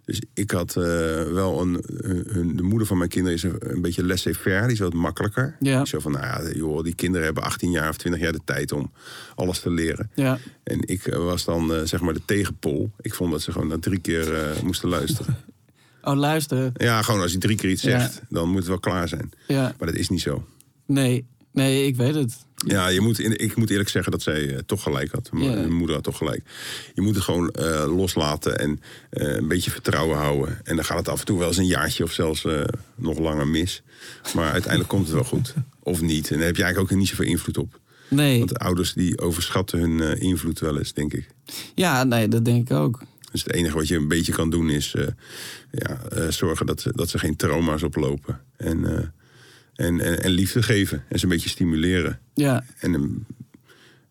Dus ik had eh, wel een, hun- de moeder van mijn kinderen is een, een beetje laissez-faire, die is wat makkelijker. Ja. Zo van, nou ja, joh, die kinderen hebben 18 jaar of 20 jaar de tijd om alles te leren. ja. En ik eh, was dan eh, zeg maar de tegenpol. Ik vond dat ze gewoon na drie keer eh, moesten luisteren. Oh, luister. Ja, gewoon als je drie keer iets Ja. zegt, dan moet het wel klaar zijn. Ja, Maar dat is niet zo. nee. Nee, ik weet het. Ja, je moet, in- ik moet eerlijk zeggen dat zij eh, toch gelijk had. Mijn Ja. mijn moeder had toch gelijk. Je moet het gewoon eh, loslaten en eh, een beetje vertrouwen houden. En dan gaat het af en toe wel eens een jaartje of zelfs eh, nog langer mis. Maar uiteindelijk komt het wel goed. Of niet. En daar heb je eigenlijk ook niet zoveel invloed op. Nee. Want eh, de ouders die overschatten hun eh, invloed wel eens, denk ik. Ja, nee, dat denk ik ook. Dus het enige wat je een beetje kan doen is eh, ja, eh, zorgen dat, ze- dat ze geen trauma's oplopen. En, eh, en, en, en liefde geven. En ze een beetje stimuleren. Ja, En, een-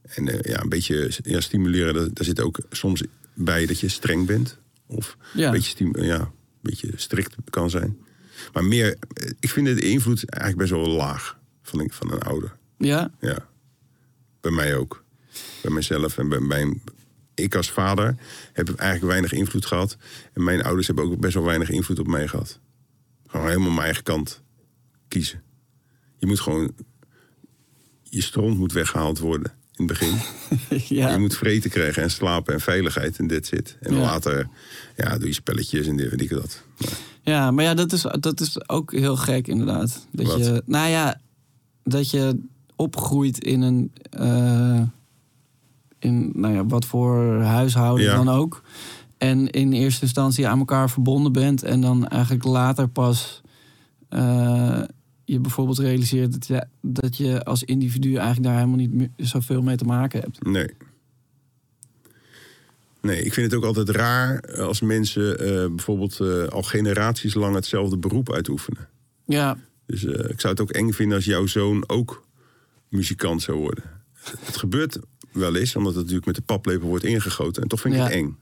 en eh, ja, een beetje ja, stimuleren, dat- daar zit ook soms bij dat je streng bent. Of Ja. een, beetje stimu- ja, een beetje strikt kan zijn. Maar meer, eh, ik vind de invloed eigenlijk best wel laag van een, van een ouder. ja, Ja. Bij mij ook. Bij mezelf en bij mijn... Ik als vader heb eigenlijk weinig invloed gehad. En mijn ouders hebben ook best wel weinig invloed op mij gehad. Gewoon helemaal mijn eigen kant kiezen. Je moet gewoon... Je stront moet weggehaald worden in het begin. Je ja. moet vreten krijgen en slapen en veiligheid en dit zit. En Ja. later ja, doe je spelletjes en dit weet ik dat. Maar Ja, maar ja, dat is, dat is ook heel gek inderdaad. Dat Wat? je, nou ja, dat je opgroeit in een, eh, in, nou ja, wat voor huishouden Ja. dan ook. En in eerste instantie aan elkaar verbonden bent. En dan eigenlijk later pas eh, je bijvoorbeeld realiseert dat je, dat je als individu eigenlijk daar helemaal niet meer zoveel mee te maken hebt. Nee. Nee, ik vind het ook altijd raar eh, als mensen eh, bijvoorbeeld eh, al generaties lang hetzelfde beroep uitoefenen. Ja, Dus eh, ik zou het ook eng vinden als jouw zoon ook muzikant zou worden. Het gebeurt wel eens, omdat het natuurlijk met de paplepel wordt ingegoten. En toch vind ik Ja. het eng.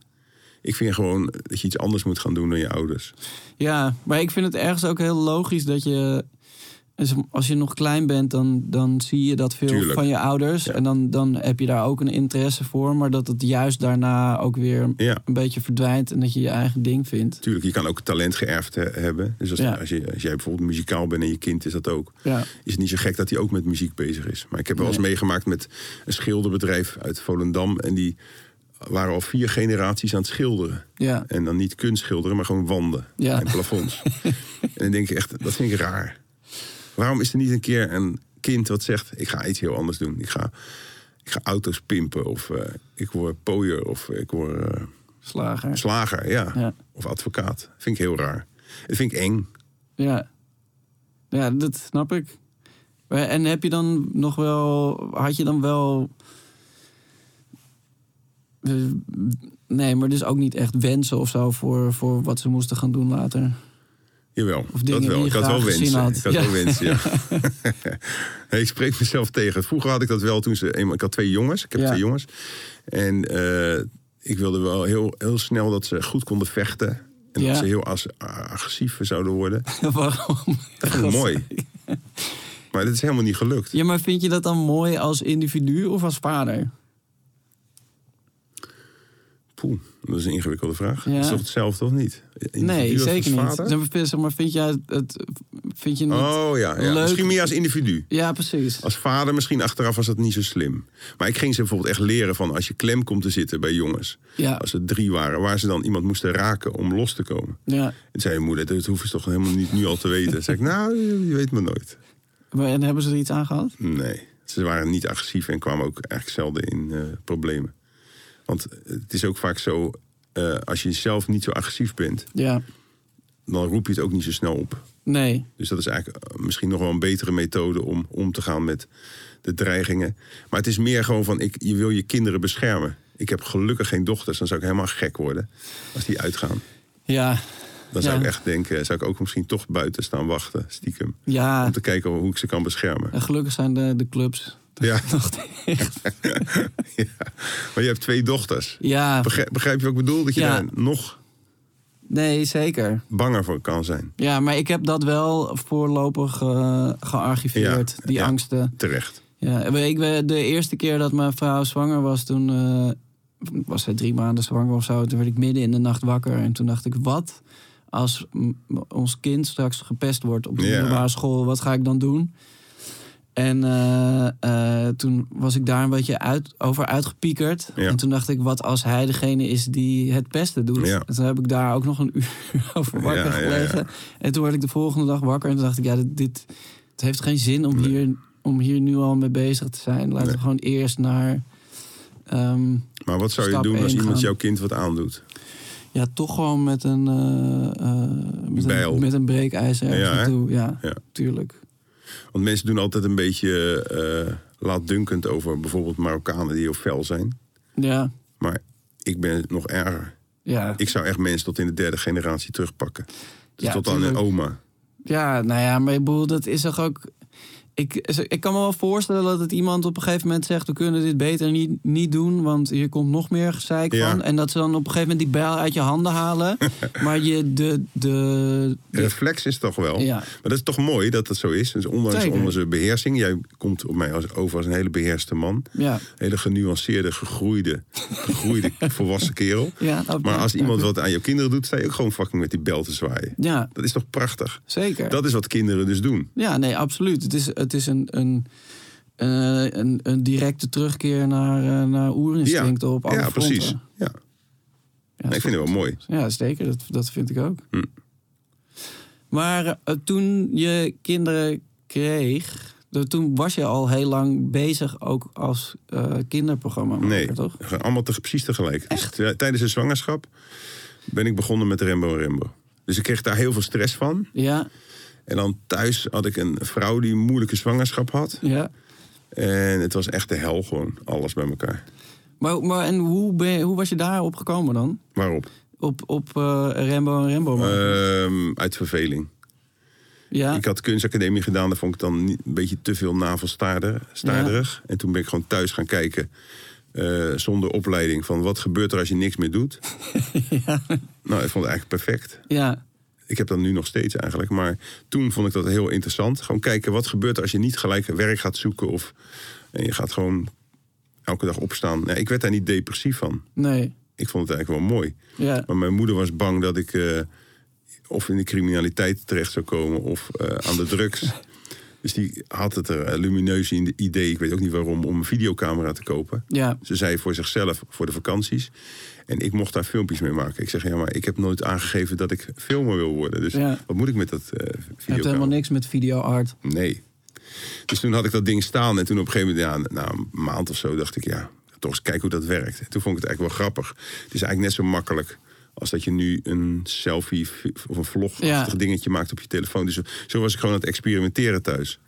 Ik vind gewoon dat je iets anders moet gaan doen dan je ouders. Ja, maar ik vind het ergens ook heel logisch dat je. Als je nog klein bent, dan, dan zie je dat veel Tuurlijk. van je ouders. Ja. En dan, dan heb je daar ook een interesse voor. Maar dat het juist daarna ook weer Ja. een beetje verdwijnt. En dat je je eigen ding vindt. Tuurlijk, je kan ook talent geërfd he- hebben. Dus als, Ja. als, je, als jij bijvoorbeeld muzikaal bent en je kind is dat ook. Ja. Is het niet zo gek dat hij ook met muziek bezig is. Maar ik heb wel eens Nee. meegemaakt met een schilderbedrijf uit Volendam. En die waren al vier generaties aan het schilderen. Ja. En dan niet kunstschilderen, maar gewoon wanden Ja. en plafonds. en dan denk ik echt, dat vind ik raar. Waarom is er niet een keer een kind wat zegt... ik ga iets heel anders doen. Ik ga ik ga auto's pimpen of eh, ik word pooier of ik word eh, Slager. slager, ja. Ja. Of advocaat. Vind ik heel raar. Dat vind ik eng. Ja. Ja, dat snap ik. Maar- En heb je dan nog wel... Had je dan wel... Eh, Nee, maar dus ook niet echt wensen of zo voor, voor wat ze moesten gaan doen later. Jawel, Of dingen dat die wel. je Ik had graag wel gezien wensen. had. Ik had Ja. wel wensen, ja. Nee, ik spreek mezelf tegen. Vroeger had ik dat wel toen ze... eenmaal- Ik had twee jongens. Ik heb Ja. twee jongens. En eh, ik wilde wel heel, heel snel dat ze goed konden vechten. En Ja. dat ze heel as- agressief zouden worden. Waarom? Dat vond ik mooi. Maar dat is helemaal niet gelukt. Ja, maar vind je dat dan mooi als individu of als vader? Poeh, dat is een ingewikkelde vraag. Ja. Dat is toch hetzelfde of niet? Individu Nee, als zeker niet. vader? Dan vind- Zeg maar, vind jij het- het... Vind je niet... Oh ja, ja. leuk? misschien meer als individu. Ja, precies. Als vader misschien achteraf was dat niet zo slim. Maar ik ging ze bijvoorbeeld echt leren van als je klem komt te zitten bij jongens. Ja. Als er drie waren, waar ze dan iemand moesten raken om los te komen. Ja. En zei je moeder, dat hoeven ze toch helemaal niet nu al te weten. Dan zei ik, nou, je weet maar nooit. Maar, en hebben ze er iets aan gehad? Nee, ze waren niet agressief en kwamen ook eigenlijk zelden in eh, problemen. Want het is ook vaak zo, eh, als je zelf niet zo agressief bent, Ja. dan roep je het ook niet zo snel op. Nee. Dus dat is eigenlijk eh, misschien nog wel een betere methode om om te gaan met de dreigingen. Maar het is meer gewoon van, ik, je wil je kinderen beschermen. Ik heb gelukkig geen dochters, dan zou ik helemaal gek worden als die uitgaan. Ja. Dan zou Ja. ik echt denken, zou ik ook misschien toch buiten staan wachten, stiekem. Ja. Om te kijken hoe ik ze kan beschermen. En gelukkig zijn de, de clubs. Ja. Nog dicht. ja. Maar je hebt twee dochters. ja, Begrijp, begrijp je wat ik bedoel? Dat je Ja. daar nog nee, zeker. banger voor kan zijn. Ja, maar ik heb dat wel voorlopig eh, gearchiveerd, Ja, die ja. angsten. Terecht. Ja, ik ben de eerste keer dat mijn vrouw zwanger was, toen eh, was zij drie maanden zwanger of zo. Toen werd ik midden in de nacht wakker en toen dacht ik, wat als m- ons kind straks gepest wordt op de Ja. middelbare school, wat ga ik dan doen? En eh, eh, toen was ik daar een beetje uit, over uitgepiekerd. Ja. En toen dacht ik, wat als hij degene is die het pesten doet? Ja. En toen heb ik daar ook nog een uur over wakker Ja, ja, ja. gelegen. En toen werd ik de volgende dag wakker en toen dacht ik, ja, dit, dit het heeft geen zin om, hier, om hier nu al mee bezig te zijn. Laten we Nee. gewoon eerst naar. ehm, Maar wat zou je Stap doen als één iemand gaan. jouw kind wat aandoet? ja, toch gewoon met een. eh, eh, met, Bijl. een met een breekijzer ergens Ja, hè? naartoe. Ja, Ja. tuurlijk. Want mensen doen altijd een beetje eh laatdunkend over bijvoorbeeld Marokkanen die heel fel zijn. Ja, Maar ik ben nog erger. ja. Ik zou echt mensen tot in de derde generatie terugpakken. Dus Ja, tot aan hun tuurlijk. oma. ja, nou ja, maar ik bedoel, dat is toch ook. Ik, ik kan me wel voorstellen dat het iemand op een gegeven moment zegt: we kunnen dit beter niet, niet doen, want hier komt nog meer gezeik Ja. van. En dat ze dan op een gegeven moment die bijl uit je handen halen. maar je de. de, De de reflex is toch wel. Ja. Maar dat is toch mooi dat dat zo is. Dus ondanks Zeker. onze beheersing. Jij komt op mij als, over als een hele beheerste man. ja. Hele genuanceerde, gegroeide, gegroeide volwassen kerel. Ja, dat- maar als ja. iemand wat aan jouw kinderen doet, sta je ook gewoon fucking met die bel te zwaaien. ja, Dat is toch prachtig? zeker. Dat is wat kinderen dus doen. Ja, nee, absoluut. Het is, het is een, een, eh, een, een directe terugkeer naar, eh, naar oerinstincten op alle ja fronten. precies. Ja. Ja, Nee, ik vind het wel mooi. Ja, zeker. Dat, dat vind ik ook. Hm. Maar eh, toen je kinderen kreeg, de- toen was je al heel lang bezig ook als eh kinderprogramma. Nee, toch? allemaal te, precies tegelijk. Dus t- tijdens de zwangerschap ben ik begonnen met Rembo Rembo. Dus ik kreeg daar heel veel stress van. Ja, En dan thuis had ik een vrouw die een moeilijke zwangerschap had. ja. En het was echt de hel gewoon, alles bij elkaar. Maar, maar en hoe, ben je- hoe was je daarop gekomen dan? Waarop? Op, op eh Rembo en Rembo? maken? Ehm, uit verveling. ja, Ik had kunstacademie gedaan, daar vond ik dan niet- een beetje te veel navelstaarderig. En toen ben ik gewoon thuis gaan kijken, eh, zonder opleiding, van wat gebeurt er als je niks meer doet. Nou, ik vond het eigenlijk perfect. ja, Ik heb dat nu nog steeds eigenlijk, maar toen vond ik dat heel interessant. Gewoon kijken wat gebeurt er als je niet gelijk werk gaat zoeken of en je gaat gewoon elke dag opstaan. Nou, ik werd daar niet depressief van. nee. Ik vond het eigenlijk wel mooi. Ja, Maar mijn moeder was bang dat ik eh, of in de criminaliteit terecht zou komen of eh, aan de drugs. Dus die had het er eh, lumineus in de idee, ik weet ook niet waarom, om een videocamera te kopen. ja. Ze zei voor zichzelf, voor de vakanties. En ik mocht daar filmpjes mee maken. Ik zeg, ja, maar ik heb nooit aangegeven dat ik filmer wil worden. Dus Ja. wat moet ik met dat eh Je hebt videocamera? helemaal niks met video art. Nee. Dus toen had ik dat ding staan. En toen op een gegeven moment, ja, na een maand of zo, dacht ik, ja, toch eens kijken hoe dat werkt. En toen vond ik het eigenlijk wel grappig. Het is eigenlijk net zo makkelijk als dat je nu een selfie of een vlogachtig Ja. dingetje maakt op je telefoon. Dus zo- zo was ik gewoon aan het experimenteren thuis.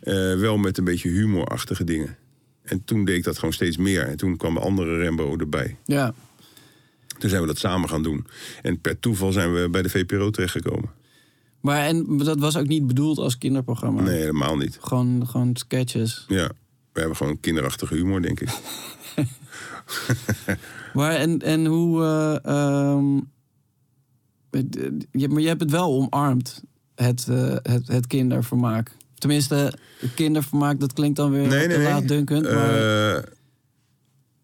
Eh, wel met een beetje humorachtige dingen. En toen deed ik dat gewoon steeds meer. En toen kwam de andere Rembo erbij. Ja. Toen zijn we dat samen gaan doen. En per toeval zijn we bij de VPRO terechtgekomen. Maar en dat was ook niet bedoeld als kinderprogramma. Nee, helemaal niet. Gewoon, gewoon sketches. Ja, we hebben gewoon kinderachtige humor, denk ik. Maar en, en hoe. eh, ehm, het- het- je, maar je hebt het wel omarmd, het, eh, het, het kindervermaak. Tenminste, kindervermaak, dat klinkt dan weer Nee, wat nee, eh, te nee. laatdunkend. maar, Eh,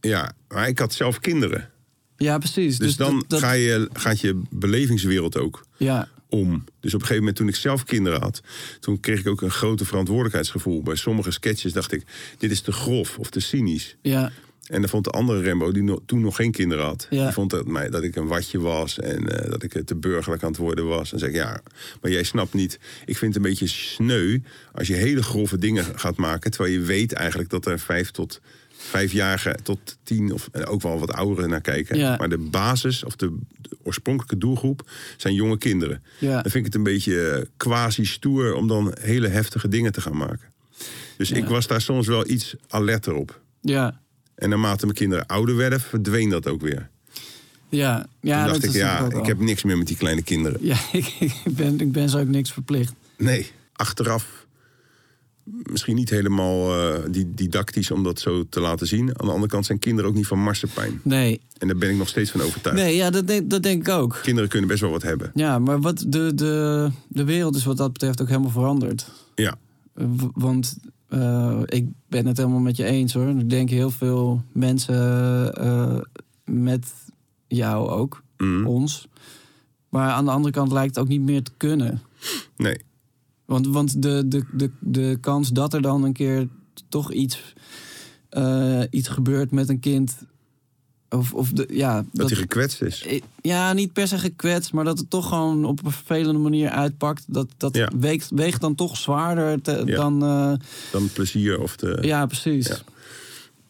ja, maar ik had zelf kinderen. ja, precies. Dus, dan dat- dat- Ga je, gaat je belevingswereld ook Ja, om. Dus op een gegeven moment, toen ik zelf kinderen had, toen kreeg ik ook een grote verantwoordelijkheidsgevoel. Bij sommige sketches dacht ik: dit is te grof of te cynisch. ja, En dan vond de andere Rembo, die no- toen nog geen kinderen had, Ja. die vond dat, mij, dat ik een watje was en eh, dat ik eh, te burgerlijk aan het worden was. En zei ik, ja, maar jij snapt niet. Ik vind het een beetje sneu als je hele grove dingen gaat maken, terwijl je weet eigenlijk dat er vijf tot vijfjarigen tot tien of en ook wel wat ouderen naar kijken. Ja. Maar de basis of de, de oorspronkelijke doelgroep zijn jonge kinderen. Ja. Dan vind ik het een beetje eh, quasi-stoer om dan hele heftige dingen te gaan maken. Dus ik was daar soms wel iets alerter op. ja. En naarmate mijn kinderen ouder werden, verdween dat ook weer. Ja, ja Toen dat dacht ik, is ja, natuurlijk ook ik al. heb niks meer met die kleine kinderen. Ja, ik, ik ben, ik ben ze ook niks verplicht. Nee, achteraf misschien niet helemaal eh, di- didactisch om dat zo te laten zien. Aan de andere kant zijn kinderen ook niet van marsepein. Nee, En daar ben ik nog steeds van overtuigd. nee ja, dat, denk, dat denk ik ook. Kinderen kunnen best wel wat hebben. Ja, maar wat de, de, de wereld is wat dat betreft ook helemaal veranderd. Ja, Eh, w- Want eh, ik ben het helemaal met je eens hoor. Ik denk heel veel mensen eh, met jou ook, Mhm. ons. Maar aan de andere kant lijkt het ook niet meer te kunnen. nee. Want, want de, de, de, de kans dat er dan een keer toch iets, eh, iets gebeurt met een kind. Of, of de, ja, Dat dat- hij gekwetst is. eh, ja, niet per se gekwetst, maar dat het toch gewoon op een vervelende manier uitpakt. Dat, dat Ja. weegt, weegt dan toch zwaarder te- Ja. dan. eh, Dan het plezier of de... ja, precies. Ja.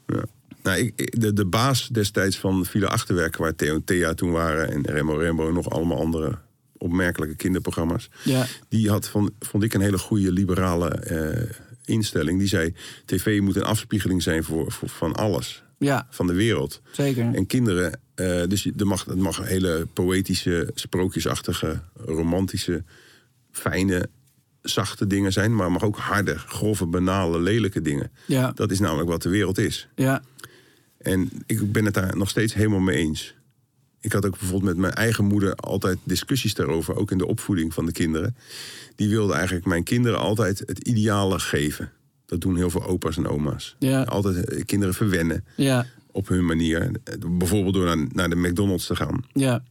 Ja. Nou, ik- ik, de, de baas destijds van Villa Achterwerk, waar Theo en Thea toen waren... en Rembo Rembo en nog allemaal andere opmerkelijke kinderprogramma's... Ja. die had, van, vond ik, een hele goede liberale eh, instelling. Die zei, tv moet een afspiegeling zijn voor, voor, van alles, Ja, van de wereld. zeker. En kinderen, eh, dus je- er mag, er mag hele poëtische, sprookjesachtige, romantische, fijne, zachte dingen zijn... maar het mag ook harde, grove, banale, lelijke dingen. Ja, Dat is namelijk wat de wereld is. ja, En ik ben het daar nog steeds helemaal mee eens. Ik had ook bijvoorbeeld met mijn eigen moeder altijd discussies daarover, ook in de opvoeding van de kinderen. Die wilde eigenlijk mijn kinderen altijd het ideale geven. Dat doen heel veel opa's en oma's. Ja. Altijd eh, kinderen verwennen ja, op hun manier. Eh, Bijvoorbeeld door naar, naar de McDonald's te gaan. ja.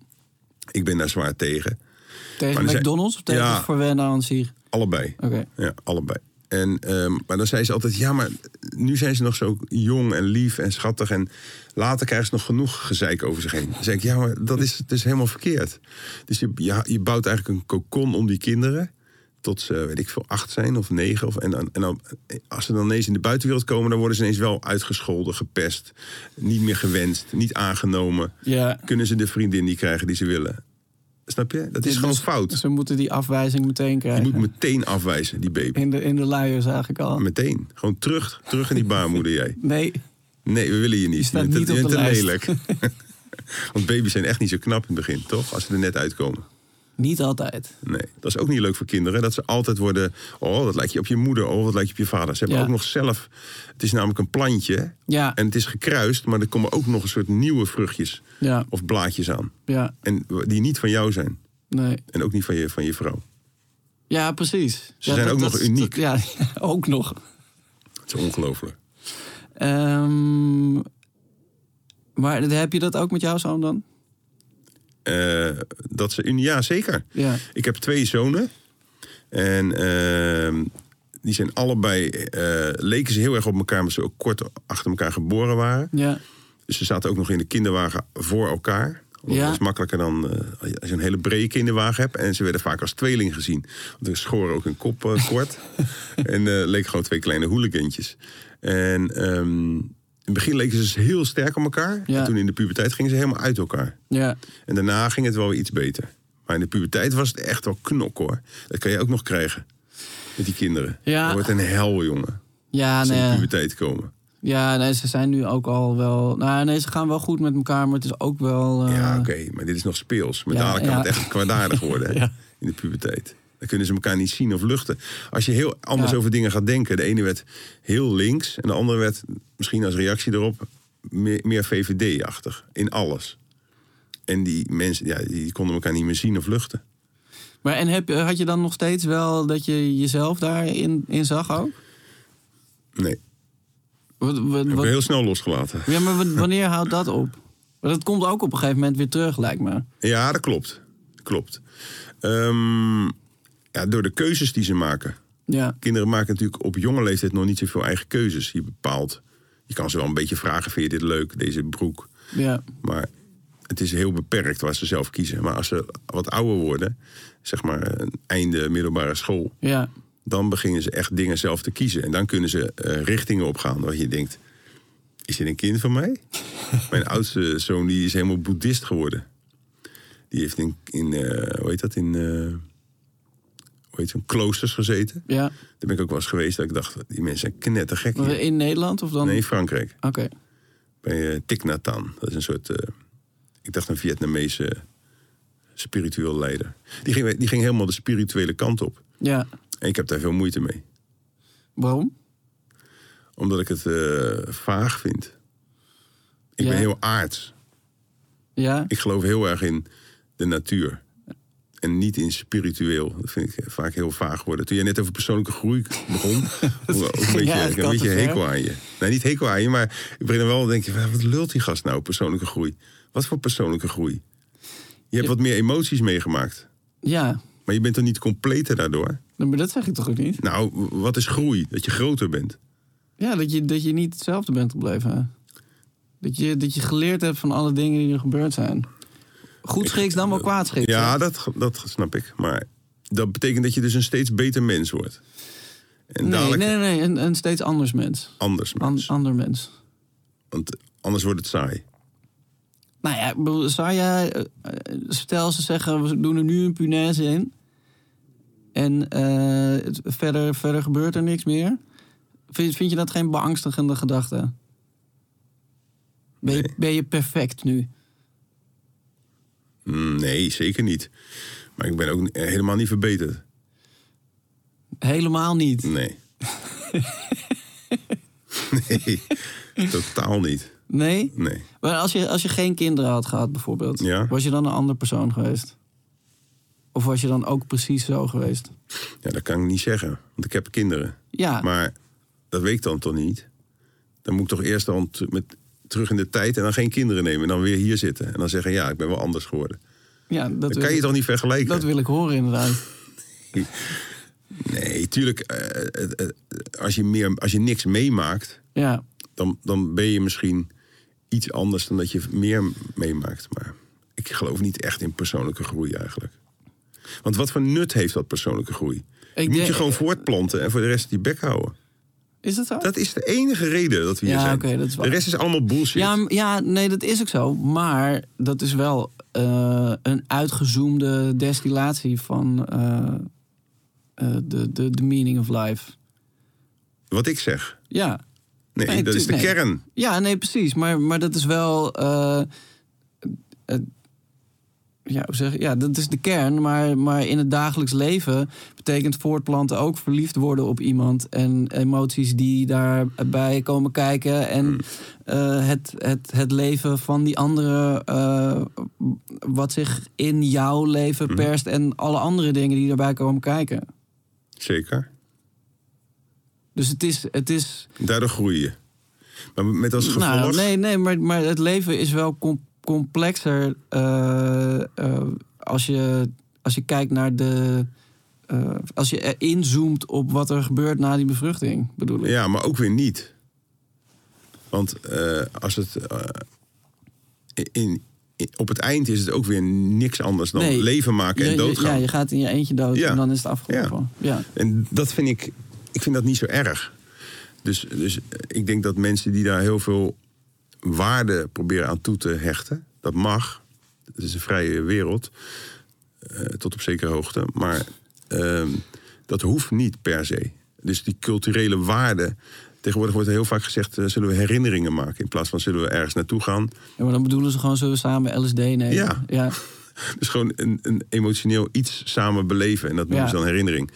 Ik ben daar zwaar tegen. Tegen Maar er zijn- McDonald's of tegen Ja. Verwennen aan zich? Allebei. Oké. Ja, allebei. En, ehm, maar dan zei ze altijd, ja, maar nu zijn ze nog zo jong en lief en schattig. En later krijgen ze nog genoeg gezeik over zich heen. Dan zeg ik, ja, maar dat is dus helemaal verkeerd. Dus je, ja, je bouwt eigenlijk een cocon om die kinderen. Tot ze, weet ik veel, acht zijn of negen. Of, en, dan- en dan, als ze dan ineens in de buitenwereld komen... dan worden ze ineens wel uitgescholden, gepest. Niet meer gewenst, niet aangenomen. Ja. Kunnen ze de vriendin niet krijgen die ze willen. Snap je? Dat is Dus gewoon fout. Ze moeten die afwijzing meteen Je krijgen. moet meteen afwijzen, die baby. in, de, in de luier zag ik al. Meteen. Gewoon terug, terug in die baarmoeder jij. Nee, Nee, we willen je niet. staat Je bent niet te- op je de bent te lijst. lelijk. Want baby's zijn echt niet zo knap in het begin, toch? Als ze er net uitkomen. niet altijd. Nee, dat is ook niet leuk voor kinderen. Dat ze altijd worden, oh, dat lijkt je op je moeder, oh, dat lijkt je op je vader. Ze hebben Ja. ook nog zelf, het is namelijk een plantje. Ja. En het is gekruist, maar er komen ook nog een soort nieuwe vruchtjes Ja. of blaadjes aan. Ja, En die niet van jou zijn. nee. En ook niet van je, van je vrouw. Ja, precies. Ze zijn ook nog uniek. ja, ook nog. Het is ongelooflijk. Ehm, maar heb je dat ook met jouw zoon dan? Eh, dat ze, ja, zeker. Ja. Ik heb twee zonen. En ehm, die zijn allebei, eh, leken ze heel erg op elkaar, maar ze ook kort achter elkaar geboren waren. Ja. Dus ze zaten ook nog in de kinderwagen voor elkaar. Want Ja. Dat is makkelijker dan eh, als je een hele brede kinderwagen hebt. En ze werden vaak als tweeling gezien. Want er schoren ook hun kop eh, kort. en eh, leken gewoon twee kleine hooligantjes. En ehm, in het begin leken ze dus heel sterk op elkaar. Ja. En toen in de puberteit gingen ze helemaal uit elkaar. Ja. En daarna ging het wel weer iets beter. Maar in de puberteit was het echt wel knok hoor. Dat kan je ook nog krijgen. Met die kinderen. Ja. eh, Dat wordt een hel, jongen. Ja, Als ze in de nee. puberteit komen. Ja, nee, ze zijn nu ook al wel. Nou, nee, ze gaan wel goed met elkaar, maar het is ook wel. eh, Ja, oké, maar dit is nog speels. Maar Ja, dadelijk kan ja. het echt kwaadaardig worden hè, Ja. in de puberteit. Dan kunnen ze elkaar niet zien of luchten. Als je heel anders Ja. over dingen gaat denken. De ene werd heel links en de andere werd misschien als reactie erop meer, meer VVD-achtig in alles. En die mensen ja, die konden elkaar niet meer zien of luchten. Maar en heb, je- had je dan nog steeds wel dat je jezelf daarin in zag ook? Nee, Wat, wat, heb ik wat- heel snel losgelaten. ja, maar wa- wanneer houdt dat op? Maar dat komt ook op een gegeven moment weer terug, lijkt me. Ja, dat klopt. Klopt. Ehm, ja, door de keuzes die ze maken. Ja, kinderen maken natuurlijk op jonge leeftijd nog niet zoveel eigen keuzes. Je bepaalt. Je kan ze wel een beetje vragen: vind je dit leuk, deze broek? ja, Maar het is heel beperkt waar ze zelf kiezen. Maar als ze wat ouder worden, zeg maar een einde middelbare school, ja. dan beginnen ze echt dingen zelf te kiezen. En dan kunnen ze eh, richtingen opgaan. Dat je denkt: is dit een kind van mij? Mijn oudste zoon die is helemaal boeddhist geworden. Die heeft in, in eh, hoe heet dat, in eh, hoe heet zo'n kloosters gezeten. ja. Daar ben ik ook wel eens geweest dat ik dacht, die mensen zijn knettergek. Maar hier. In Nederland of dan? Nee, Frankrijk. Oké. Bij eh, Thich Nhat Hanh. Dat is een soort, eh, ik dacht een Vietnamese spiritueel leider. Die ging, die ging helemaal de spirituele kant op. Ja. En ik heb daar veel moeite mee. Waarom? Omdat ik het eh, vaag vind. Ik Ja. ben heel aards. Ja. Ik geloof heel erg in de natuur. En niet in spiritueel. Dat vind ik vaak heel vaag worden. Toen jij net over persoonlijke groei begon. had ik ook een beetje, Ja, het ik had kan een beetje te ver. hekel aan je. Nee, niet hekel aan je, maar ik begin dan wel denk je, wat lult die gast nou, persoonlijke groei? Wat voor persoonlijke groei? Je hebt wat meer emoties meegemaakt. Ja. Maar je bent toch niet completer daardoor? Maar dat zeg ik toch ook niet? Nou, wat is groei? Dat je groter bent. Ja, dat je, dat je niet hetzelfde bent gebleven. Dat je, dat je geleerd hebt van alle dingen die er gebeurd zijn. Goed schiks dan wel kwaad schiks. Ja, hè? dat, dat snap ik. Maar dat betekent dat je dus een steeds beter mens wordt. En Nee, dadelijk nee, nee, nee, Een, een steeds anders mens. anders An- mens. ander mens. Want anders wordt het saai. Nou ja, ik bedoel, zou jij... eh, eh, Stel, ze zeggen, we doen er nu een punaise in. En eh, het- verder, verder gebeurt er niks meer. Vind, vind je dat geen beangstigende gedachte? Ben je, ben je perfect nu? Mm, Nee, zeker niet. Maar ik ben ook eh, helemaal niet verbeterd. Helemaal niet. Nee. nee, totaal niet. Nee? Nee. Maar als je, als je geen kinderen had gehad, bijvoorbeeld, Ja. was je dan een ander persoon geweest? Of was je dan ook precies zo geweest? Ja, dat kan ik niet zeggen, want ik heb kinderen. Ja, Maar dat weet ik dan toch niet? Dan moet ik toch eerst dan t- met, terug in de tijd en dan geen kinderen nemen. En dan weer hier zitten. En dan zeggen, ja, ik ben wel anders geworden. ja dat, Dat wil, kan je ik- toch niet vergelijken? dat wil ik horen inderdaad. Nee, tuurlijk. eh, eh, eh, als, je meer, als je niks meemaakt, Ja, dan, dan ben je misschien iets anders dan dat je meer meemaakt. Maar ik geloof niet echt in persoonlijke groei eigenlijk. Want wat voor nut heeft dat persoonlijke groei? je moet denk- je gewoon voortplanten en voor de rest die bek houden. is dat zo? Dat is de enige reden dat we hier Ja, zijn. oké, dat is waar. de rest is allemaal bullshit. ja, m- ja, nee, dat is ook zo. Maar dat is wel eh, een uitgezoomde destillatie van eh, eh, de, de, de meaning of life. Wat ik zeg. Ja. Nee, Nee, dat is de tuurlijk, nee. kern. Ja, nee, precies. Maar, maar dat is wel. eh, eh, ja, hoe zeg, je- ja, dat is de kern. Maar, maar in het dagelijks leven betekent voortplanten ook verliefd worden op iemand. En emoties die daarbij komen kijken. En Hmm. eh, het, het, het leven van die andere. eh, wat zich in jouw leven Hmm. perst. En alle andere dingen die daarbij komen kijken. Zeker. Dus het is. Het is Daardoor groei je. Maar met als gevolg... Nou, nee, nee maar, maar het leven is wel com- complexer eh, eh, als, je, als je kijkt naar de. eh, als je inzoomt op wat er gebeurt na die bevruchting, bedoel ik. Ja, maar ook weer niet. Want eh, als het eh, in, i- op het eind is het ook weer niks anders dan Nee. leven maken en Je- je- doodgaan. Ja, je gaat in je eentje dood Ja. en dan is het afgelopen. Ja. En dat vind ik, ik vind dat niet zo erg. Dus, dus ik denk dat mensen die daar heel veel waarde proberen aan toe te hechten, dat mag. Het is een vrije wereld, eh, tot op zekere hoogte. Maar ehm, dat hoeft niet per se. Dus die culturele waarde. Tegenwoordig wordt er heel vaak gezegd: eh, zullen we herinneringen maken in plaats van zullen we ergens naartoe gaan. Ja, maar dan bedoelen ze gewoon, zullen we samen LSD nemen? Ja. ja. Dus gewoon een, een emotioneel iets samen beleven. En dat noemen Ja. ze dan herinnering.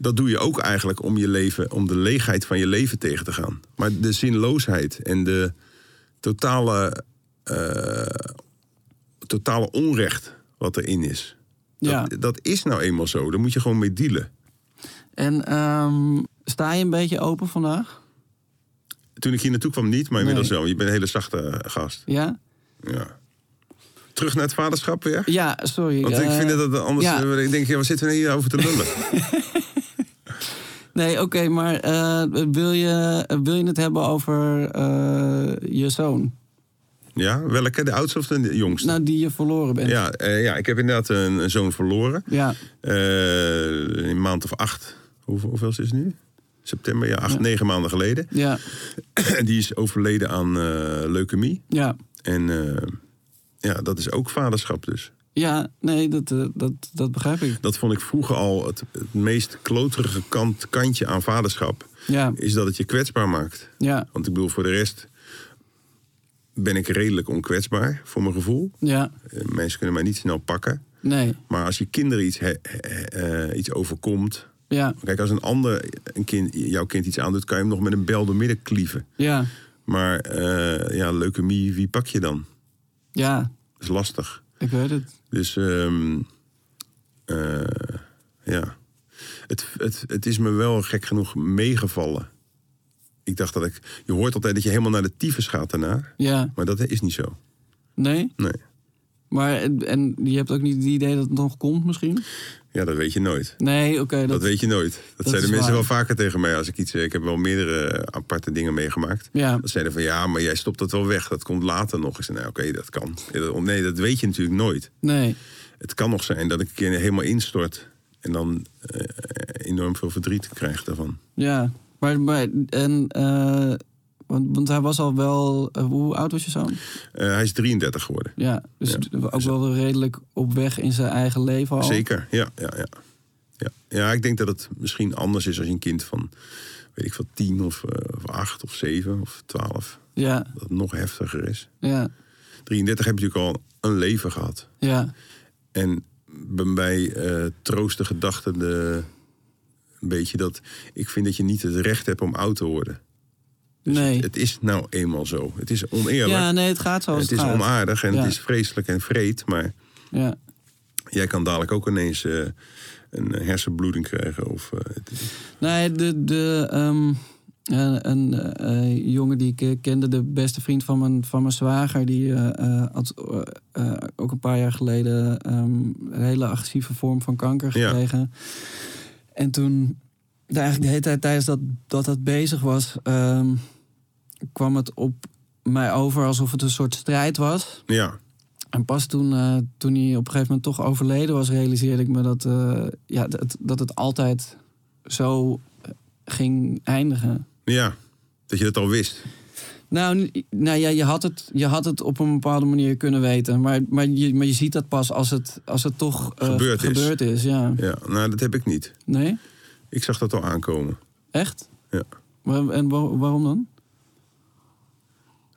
Dat doe je ook eigenlijk om je leven, om de leegheid van je leven tegen te gaan. Maar de zinloosheid en de totale, eh, totale onrecht wat erin is. Dat, Ja. dat is nou eenmaal zo. Daar moet je gewoon mee dealen. En ehm, sta je een beetje open vandaag? Toen ik hier naartoe kwam niet, maar inmiddels Nee. wel. Je bent een hele zachte eh, gast. Ja? Ja. Terug naar het vaderschap weer? Ja, sorry. Want ik eh, vind dat het anders... ja. Ik denk, ja, wat zitten we hier over te lullen? Nee, oké, maar eh, wil, je, wil je het hebben over eh, je zoon? ja, welke? De oudste of de jongste? Nou, die je verloren bent. Ja, eh, ja, ik heb inderdaad een, een zoon verloren. Ja. Eh, een maand of acht. Hoeveel, hoeveel is het nu? September, ja, acht, negen maanden geleden. Ja. Die is overleden aan eh, leukemie. Ja. En eh, ja, dat is ook vaderschap dus. Ja, nee, dat, eh, dat, dat begrijp ik. Dat vond ik vroeger al het, het meest kloterige kant, kantje aan vaderschap. Ja, Is dat het je kwetsbaar maakt. ja, Want ik bedoel, voor de rest ben ik redelijk onkwetsbaar, voor mijn gevoel. ja. Eh, mensen kunnen mij niet snel pakken. Nee, Maar als je kinderen iets, he- eh, eh, iets overkomt... ja, Kijk, als een ander een kind, jouw kind iets aandoet, kan je hem nog met een bel door midden klieven. ja, Maar eh ja, leukemie, wie pak je dan? ja. Dat is lastig. Ik weet het. Dus ehm, eh, ja, het, het, het is me wel gek genoeg meegevallen. Ik dacht dat ik... Je hoort altijd dat je helemaal naar de tyfus gaat daarna. Ja, Maar dat is niet zo. nee. Nee. Maar en, en je hebt ook niet het idee dat het nog komt misschien? Ja, dat weet je nooit. Nee, oké. dat, Dat weet je nooit. Dat, zeiden is mensen waar. wel vaker tegen mij. Als ik, iets, ik heb wel meerdere eh, aparte dingen meegemaakt. Ja. Dat zeiden van ja, maar jij stopt dat wel weg. Dat komt later nog. Ik zei, nou, oké, dat kan. Ja, dat- Nee, dat weet je natuurlijk nooit. Nee, Het kan nog zijn dat ik een keer helemaal instort. En dan eh, enorm veel verdriet krijg daarvan. ja. Maar, maar en, eh, want, want hij was al wel, eh, hoe oud was je zoon? Eh, hij is 33 geworden. Ja, dus Ja. ook wel redelijk op weg in zijn eigen leven al. Zeker, ja, ja, ja. Ja. ja, ik denk dat het misschien anders is als je een kind van, weet ik veel, 10 of, eh, of 8 of 7 of 12. Ja, Dat het nog heftiger is. ja, 33 heb je natuurlijk al een leven gehad. ja, En bij mij eh troost de gedachte de, een beetje dat ik vind dat je niet het recht hebt om oud te worden. nee. Het is nou eenmaal zo. Het is oneerlijk. Ja, nee, het gaat zoals het het, is gaat. onaardig en Ja. het is vreselijk en vreed. Maar Ja, jij kan dadelijk ook ineens eh, een hersenbloeding krijgen. Of, eh, het- Nee, de, de, ehm, een, een eh, jongen die ik eh, kende, de beste vriend van mijn, van mijn zwager, die eh, eh, had eh, eh, ook een paar jaar geleden ehm, een hele agressieve vorm van kanker Ja. gekregen. En toen, daar eigenlijk de hele tijd tijdens dat dat, dat bezig was, ehm, kwam het op mij over alsof het een soort strijd was. ja, En pas toen, eh, toen hij op een gegeven moment toch overleden was, realiseerde ik me dat, eh, ja, dat, dat het altijd zo eh, ging eindigen. ja, dat je dat al wist. Nou, n- nou ja, je had, het, je had het op een bepaalde manier kunnen weten. Maar, maar, je, maar je ziet dat pas als het, als het toch eh, Gebeurd is. gebeurd is. Ja. Ja, nou, dat heb ik niet. Nee? Ik zag dat al aankomen. Echt? Ja. Waar- En wa- waarom dan?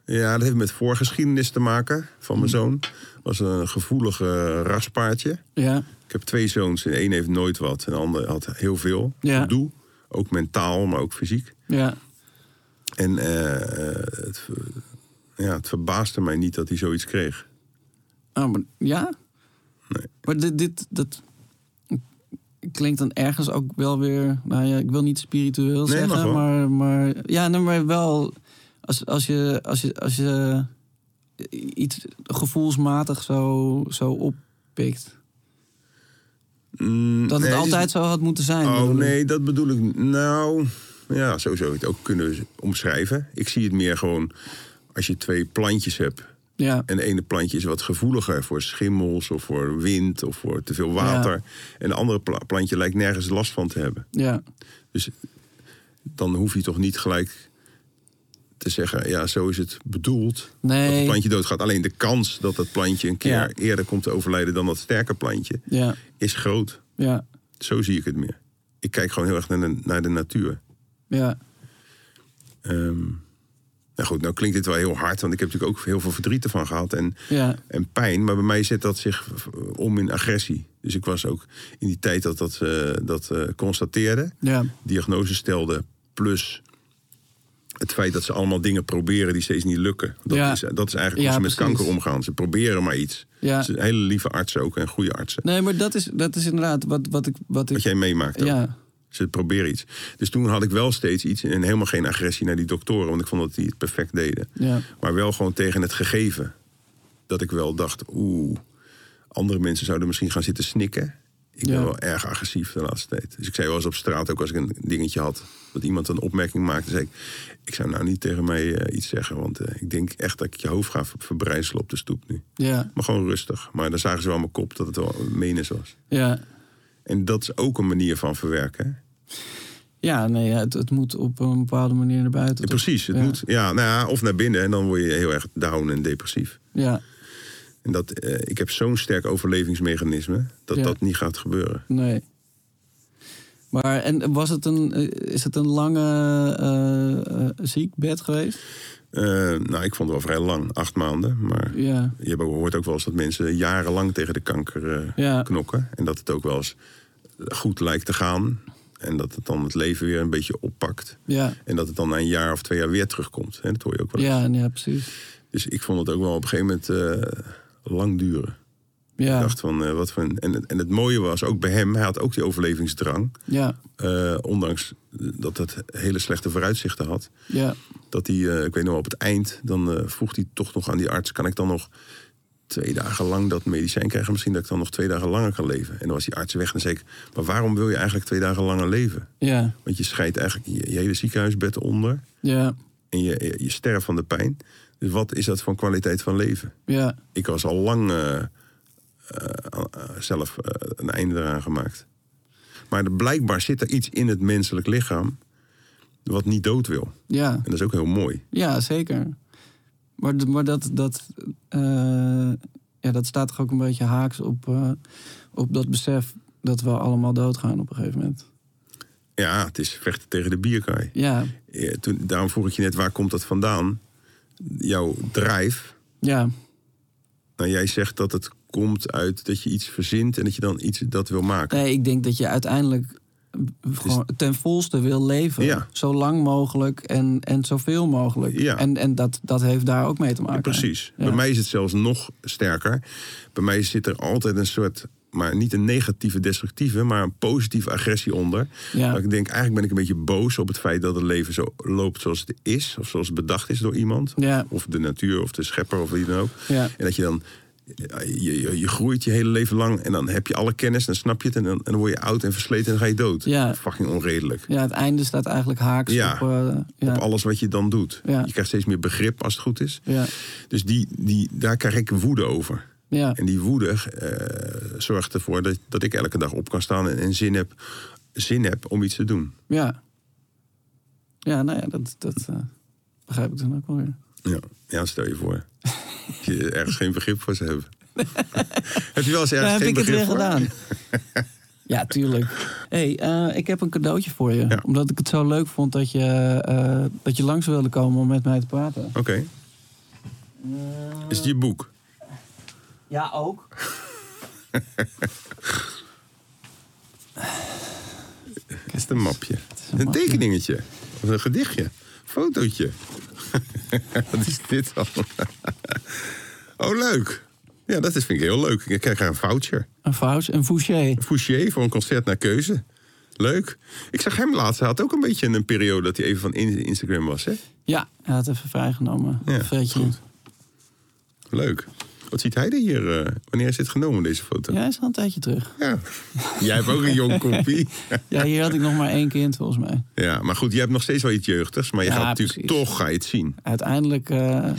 Ja, dat heeft met voorgeschiedenis te maken van Mm. mijn zoon. Was een gevoelig eh, raspaardje. Ja, Ik heb twee zoons en één heeft nooit wat. En de ander had heel veel Ja. gedoe. Ook mentaal, maar ook fysiek. ja, En eh, eh, het, ver- ja, het verbaasde mij niet dat hij zoiets kreeg. Ah, maar, ja? Nee. Maar dit, dit dat klinkt dan ergens ook wel weer... Nou ja, ik wil niet spiritueel mag zeggen, wel. maar, maar... Ja, nee, maar wel... Als, als, je, als, je, als je iets gevoelsmatig zo, zo oppikt. Mm, Dat nee, het is- altijd zo had moeten zijn. Oh bedoel ik. nee, dat bedoel ik. n- Nou, ja, zo zou je het ook kunnen omschrijven. Ik zie het meer gewoon als je twee plantjes hebt. Ja. En de ene plantje is wat gevoeliger voor schimmels of voor wind of voor te veel water. En de andere pla- plantje lijkt nergens last van te hebben. Ja. Dus dan hoef je toch niet gelijk te zeggen, ja, zo is het bedoeld. Dat het Nee. plantje doodgaat. Alleen de kans dat dat plantje een keer Ja. eerder komt te overlijden dan dat sterke plantje, Ja. is groot. Ja. Zo zie ik het meer. Ik kijk gewoon heel erg naar de, naar de natuur. Ja. Ehm, nou goed, nou klinkt dit wel heel hard, want ik heb natuurlijk ook heel veel verdriet ervan gehad en, Ja. en pijn. Maar bij mij zet dat zich v- om in agressie. Dus ik was ook in die tijd dat dat, eh, dat eh, constateerde, Ja. diagnose stelde, plus het feit dat ze allemaal dingen proberen die steeds niet lukken. Dat, Ja. is, dat is eigenlijk Ja, hoe ze met precies. kanker omgaan. Ze proberen maar iets. Ja. Ze zijn hele lieve artsen ook en goede artsen. Nee, maar dat is, dat is inderdaad wat, wat ik... Wat ik Wat jij meemaakt ook. ja. Ze proberen iets. Dus toen had ik wel steeds iets en helemaal geen agressie naar die doktoren, want ik vond dat die het perfect deden. Ja. Maar wel gewoon tegen het gegeven. Dat ik wel dacht, oeh, andere mensen zouden misschien gaan zitten snikken. Ik ben Ja. wel erg agressief de laatste tijd. Dus ik zei wel eens op straat, ook als ik een dingetje had, dat iemand een opmerking maakte, zei ik, ik zou nou niet tegen mij eh, iets zeggen, want eh, ik denk echt dat ik je hoofd ga ver- verbrijzelen op de stoep nu. Ja. Maar gewoon rustig. Maar dan zagen ze wel aan mijn kop dat het wel menens was. Ja. En dat is ook een manier van verwerken. hè? Ja, nee, ja, het, het moet op een bepaalde manier naar buiten. Ja, toch? precies, het ja. moet. Ja, nou ja, of naar binnen en dan word je heel erg down en depressief. Ja, En dat, eh, ik heb zo'n sterk overlevingsmechanisme dat Ja. dat niet gaat gebeuren. nee. Maar en was het een, eh, is het een lange eh, eh, ziekbed geweest? Eh, nou, ik vond het wel vrij lang, acht maanden. Maar Ja, je hebt ook- hoort ook wel eens dat mensen jarenlang tegen de kanker eh, Ja. knokken. En dat het ook wel eens goed lijkt te gaan. En dat het dan het leven weer een beetje oppakt. ja, En dat het dan na een jaar of twee jaar weer terugkomt. Hè, dat hoor je ook wel eens. ja, ja precies. Dus ik vond het ook wel op een gegeven moment eh, lang duren. Ik Ja, dacht van, eh, wat voor een... En, het- en het mooie was, ook bij hem, hij had ook die overlevingsdrang. ja, eh, ondanks dat het hele slechte vooruitzichten had. ja, Dat hij, eh, ik weet nog wel, op het eind, dan eh, vroeg hij toch nog aan die arts... kan ik dan nog twee dagen lang dat medicijn krijgen? Misschien dat ik dan nog twee dagen langer kan leven. En dan was die arts weg en dan zei ik... maar waarom wil je eigenlijk twee dagen langer leven? ja, Want je scheidt eigenlijk je, je hele ziekenhuisbed onder... ja, en je, je, je sterft van de pijn. Dus wat is dat voor een kwaliteit van leven? ja, ik was al lang eh, eh, eh, zelf eh, een einde eraan gemaakt. Maar er- blijkbaar zit er iets in het menselijk lichaam wat niet dood wil. ja, En dat is ook heel mooi. ja, zeker. Maar, d- maar dat, dat, eh, ja, dat staat toch ook een beetje haaks op, eh, op dat besef dat we allemaal doodgaan op een gegeven moment. Ja, het is vechten tegen de bierkaai. Ja, Eh, toen, daarom vroeg ik je net, waar komt dat vandaan? Jouw drijf. ja, Nou, jij zegt dat het komt uit dat je iets verzint en dat je dan iets dat wil maken. Nee, ik denk dat je uiteindelijk gewoon ten volste wil leven. Ja. Zo lang mogelijk en, en zoveel mogelijk. Ja. En, en dat, dat heeft daar ook mee te maken. Precies. Ja. Bij mij is het zelfs nog sterker. Bij mij zit er altijd een soort, maar niet een negatieve, destructieve, maar een positieve agressie onder. Ja. Dat ik denk, eigenlijk ben ik een beetje boos op het feit dat het leven zo loopt zoals het is, of zoals het bedacht is door iemand. Ja. Of de natuur, of de schepper, of wie dan ook. Ja. En dat je dan. eh, Je, je, je groeit je hele leven lang en dan heb je alle kennis, dan snap je het en dan, en dan word je oud en versleten en dan ga je dood. Ja. Fucking onredelijk. Ja, het einde staat eigenlijk haaks Ja. op... eh, ja. Op alles wat je dan doet. Ja. Je krijgt steeds meer begrip als het goed is. ja. Dus die, die, daar krijg ik woede over. Ja. En die woede eh, zorgt ervoor dat, dat ik elke dag op kan staan en, en zin, heb, zin heb om iets te doen. ja. Ja, nou ja, dat, dat eh, begrijp ik dan ook wel weer. Ja, ja stel je voor. dat je ergens geen begrip voor zou hebben. heb je wel eens ergens Daar heb geen ik het begrip weer voor? gedaan. Ja, tuurlijk. hey, eh, ik heb een cadeautje voor je. Ja. Omdat ik het zo leuk vond dat je, eh, dat je langs wilde komen om met mij te praten. Oké. Is het je boek? Ja, ook. Is het een mapje? is een, een mapje. tekeningetje? Of een gedichtje? Fotootje? Wat is dit dan? oh, leuk. Ja, dat is, vind ik heel leuk. Ik krijg een voucher. Een vouch, een Fouché. Fouché voor een concert naar keuze. Leuk. Ik zag hem laatst. Hij had ook een beetje een periode dat hij even van in- Instagram was. Hè? Ja, hij had even vrijgenomen. Ja, Fredje. goed. Leuk. Wat ziet hij er hier? eh, wanneer is dit genomen, deze foto? Ja, hij is al een tijdje terug. Ja. Jij hebt ook een jong kopie. Ja, hier had ik nog maar één kind volgens mij. Ja, maar goed, je hebt nog steeds wel iets jeugdigs. Maar je Ja, gaat natuurlijk precies. toch ga je het zien. Uiteindelijk eh,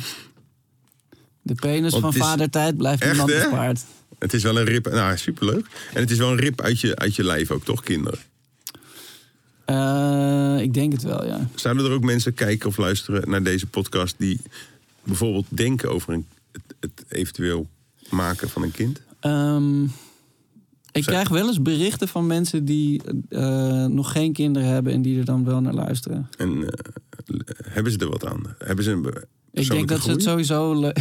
De penis Want van het is- vadertijd blijft Echt, niemand hè? bespaard. Het is wel een rip. Nou, superleuk. En het is wel een rip uit je, uit je lijf ook, toch, kinderen? Eh, ik denk het wel, ja. Zouden er ook mensen kijken of luisteren naar deze podcast die bijvoorbeeld denken over een, het, het eventueel maken van een kind? Ehm, ik Zeg- krijg wel eens berichten van mensen die eh, nog geen kinderen hebben en die er dan wel naar luisteren. En eh, hebben ze er wat aan? Hebben ze een be- Ik persoonlijke denk dat ze het groei? sowieso le-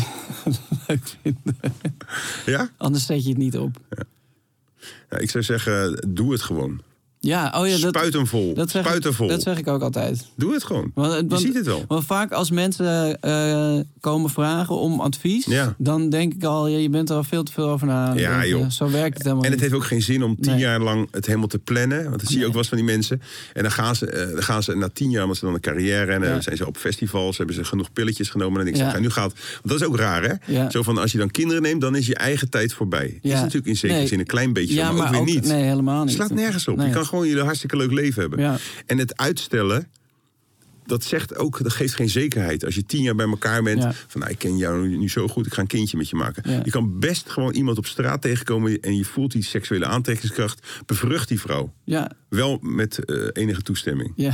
leuk vinden. Ja? Anders zet je het niet op. Ja, Ik zou zeggen, doe het gewoon. Ja, oh ja, dat, Spuit hem vol. dat, zeg, Spuit hem ik, vol. dat zeg ik ook altijd. Doe het gewoon. Want, Je want- ziet het wel. Want vaak als mensen eh, komen vragen om advies, Ja. dan denk ik al, ja, je bent er al veel te veel over na. aan het Ja, denken. joh. Zo werkt het helemaal En het niet. heeft ook geen zin om tien Nee. jaar lang het helemaal te plannen. Want dat zie je ook wel eens van die mensen. En dan gaan ze, eh, dan gaan ze na tien jaar, want ze dan een carrière en dan Ja. zijn ze op festivals, hebben ze genoeg pilletjes genomen. En ik zeg, Ja. nu gaat. Want dat is ook raar, hè? Ja. Zo van als je dan kinderen neemt, dan is je eigen tijd voorbij. Ja. Is natuurlijk in zekere Nee. zin een klein beetje, zo, ja, maar, ook weer niet. Nee, helemaal Het niet. slaat nergens op. Je Nee. kan gewoon je hartstikke leuk leven hebben. Ja. En het uitstellen. Dat zegt ook, dat geeft geen zekerheid. Als je tien jaar bij elkaar bent, Ja. van nou, ik ken jou nu zo goed, ik ga een kindje met je maken. Ja. Je kan best gewoon iemand op straat tegenkomen en je voelt die seksuele aantrekkingskracht. Bevrucht die vrouw. Ja, Wel met eh, enige toestemming. ja.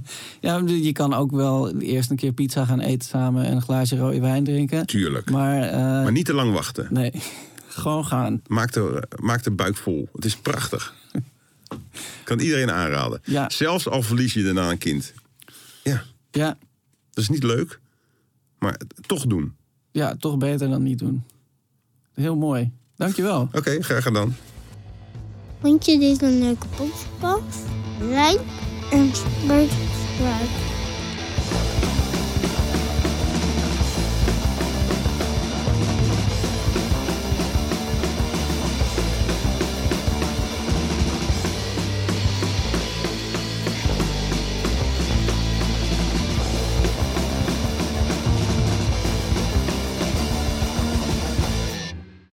ja, je kan ook wel eerst een keer pizza gaan eten samen en een glaasje rode wijn drinken. Tuurlijk. Maar, Maar, eh, niet te lang wachten. nee, gewoon gaan. Maak de, maak de buik vol. Het is prachtig. kan iedereen aanraden. Ja. Zelfs al verlies je daarna een kind. Ja, Ja, dat is niet leuk, maar toch doen. ja, toch beter dan niet doen. Heel mooi. Dankjewel. Oké, graag gedaan. Vond je dit een leuke podcast? Like en subscribe.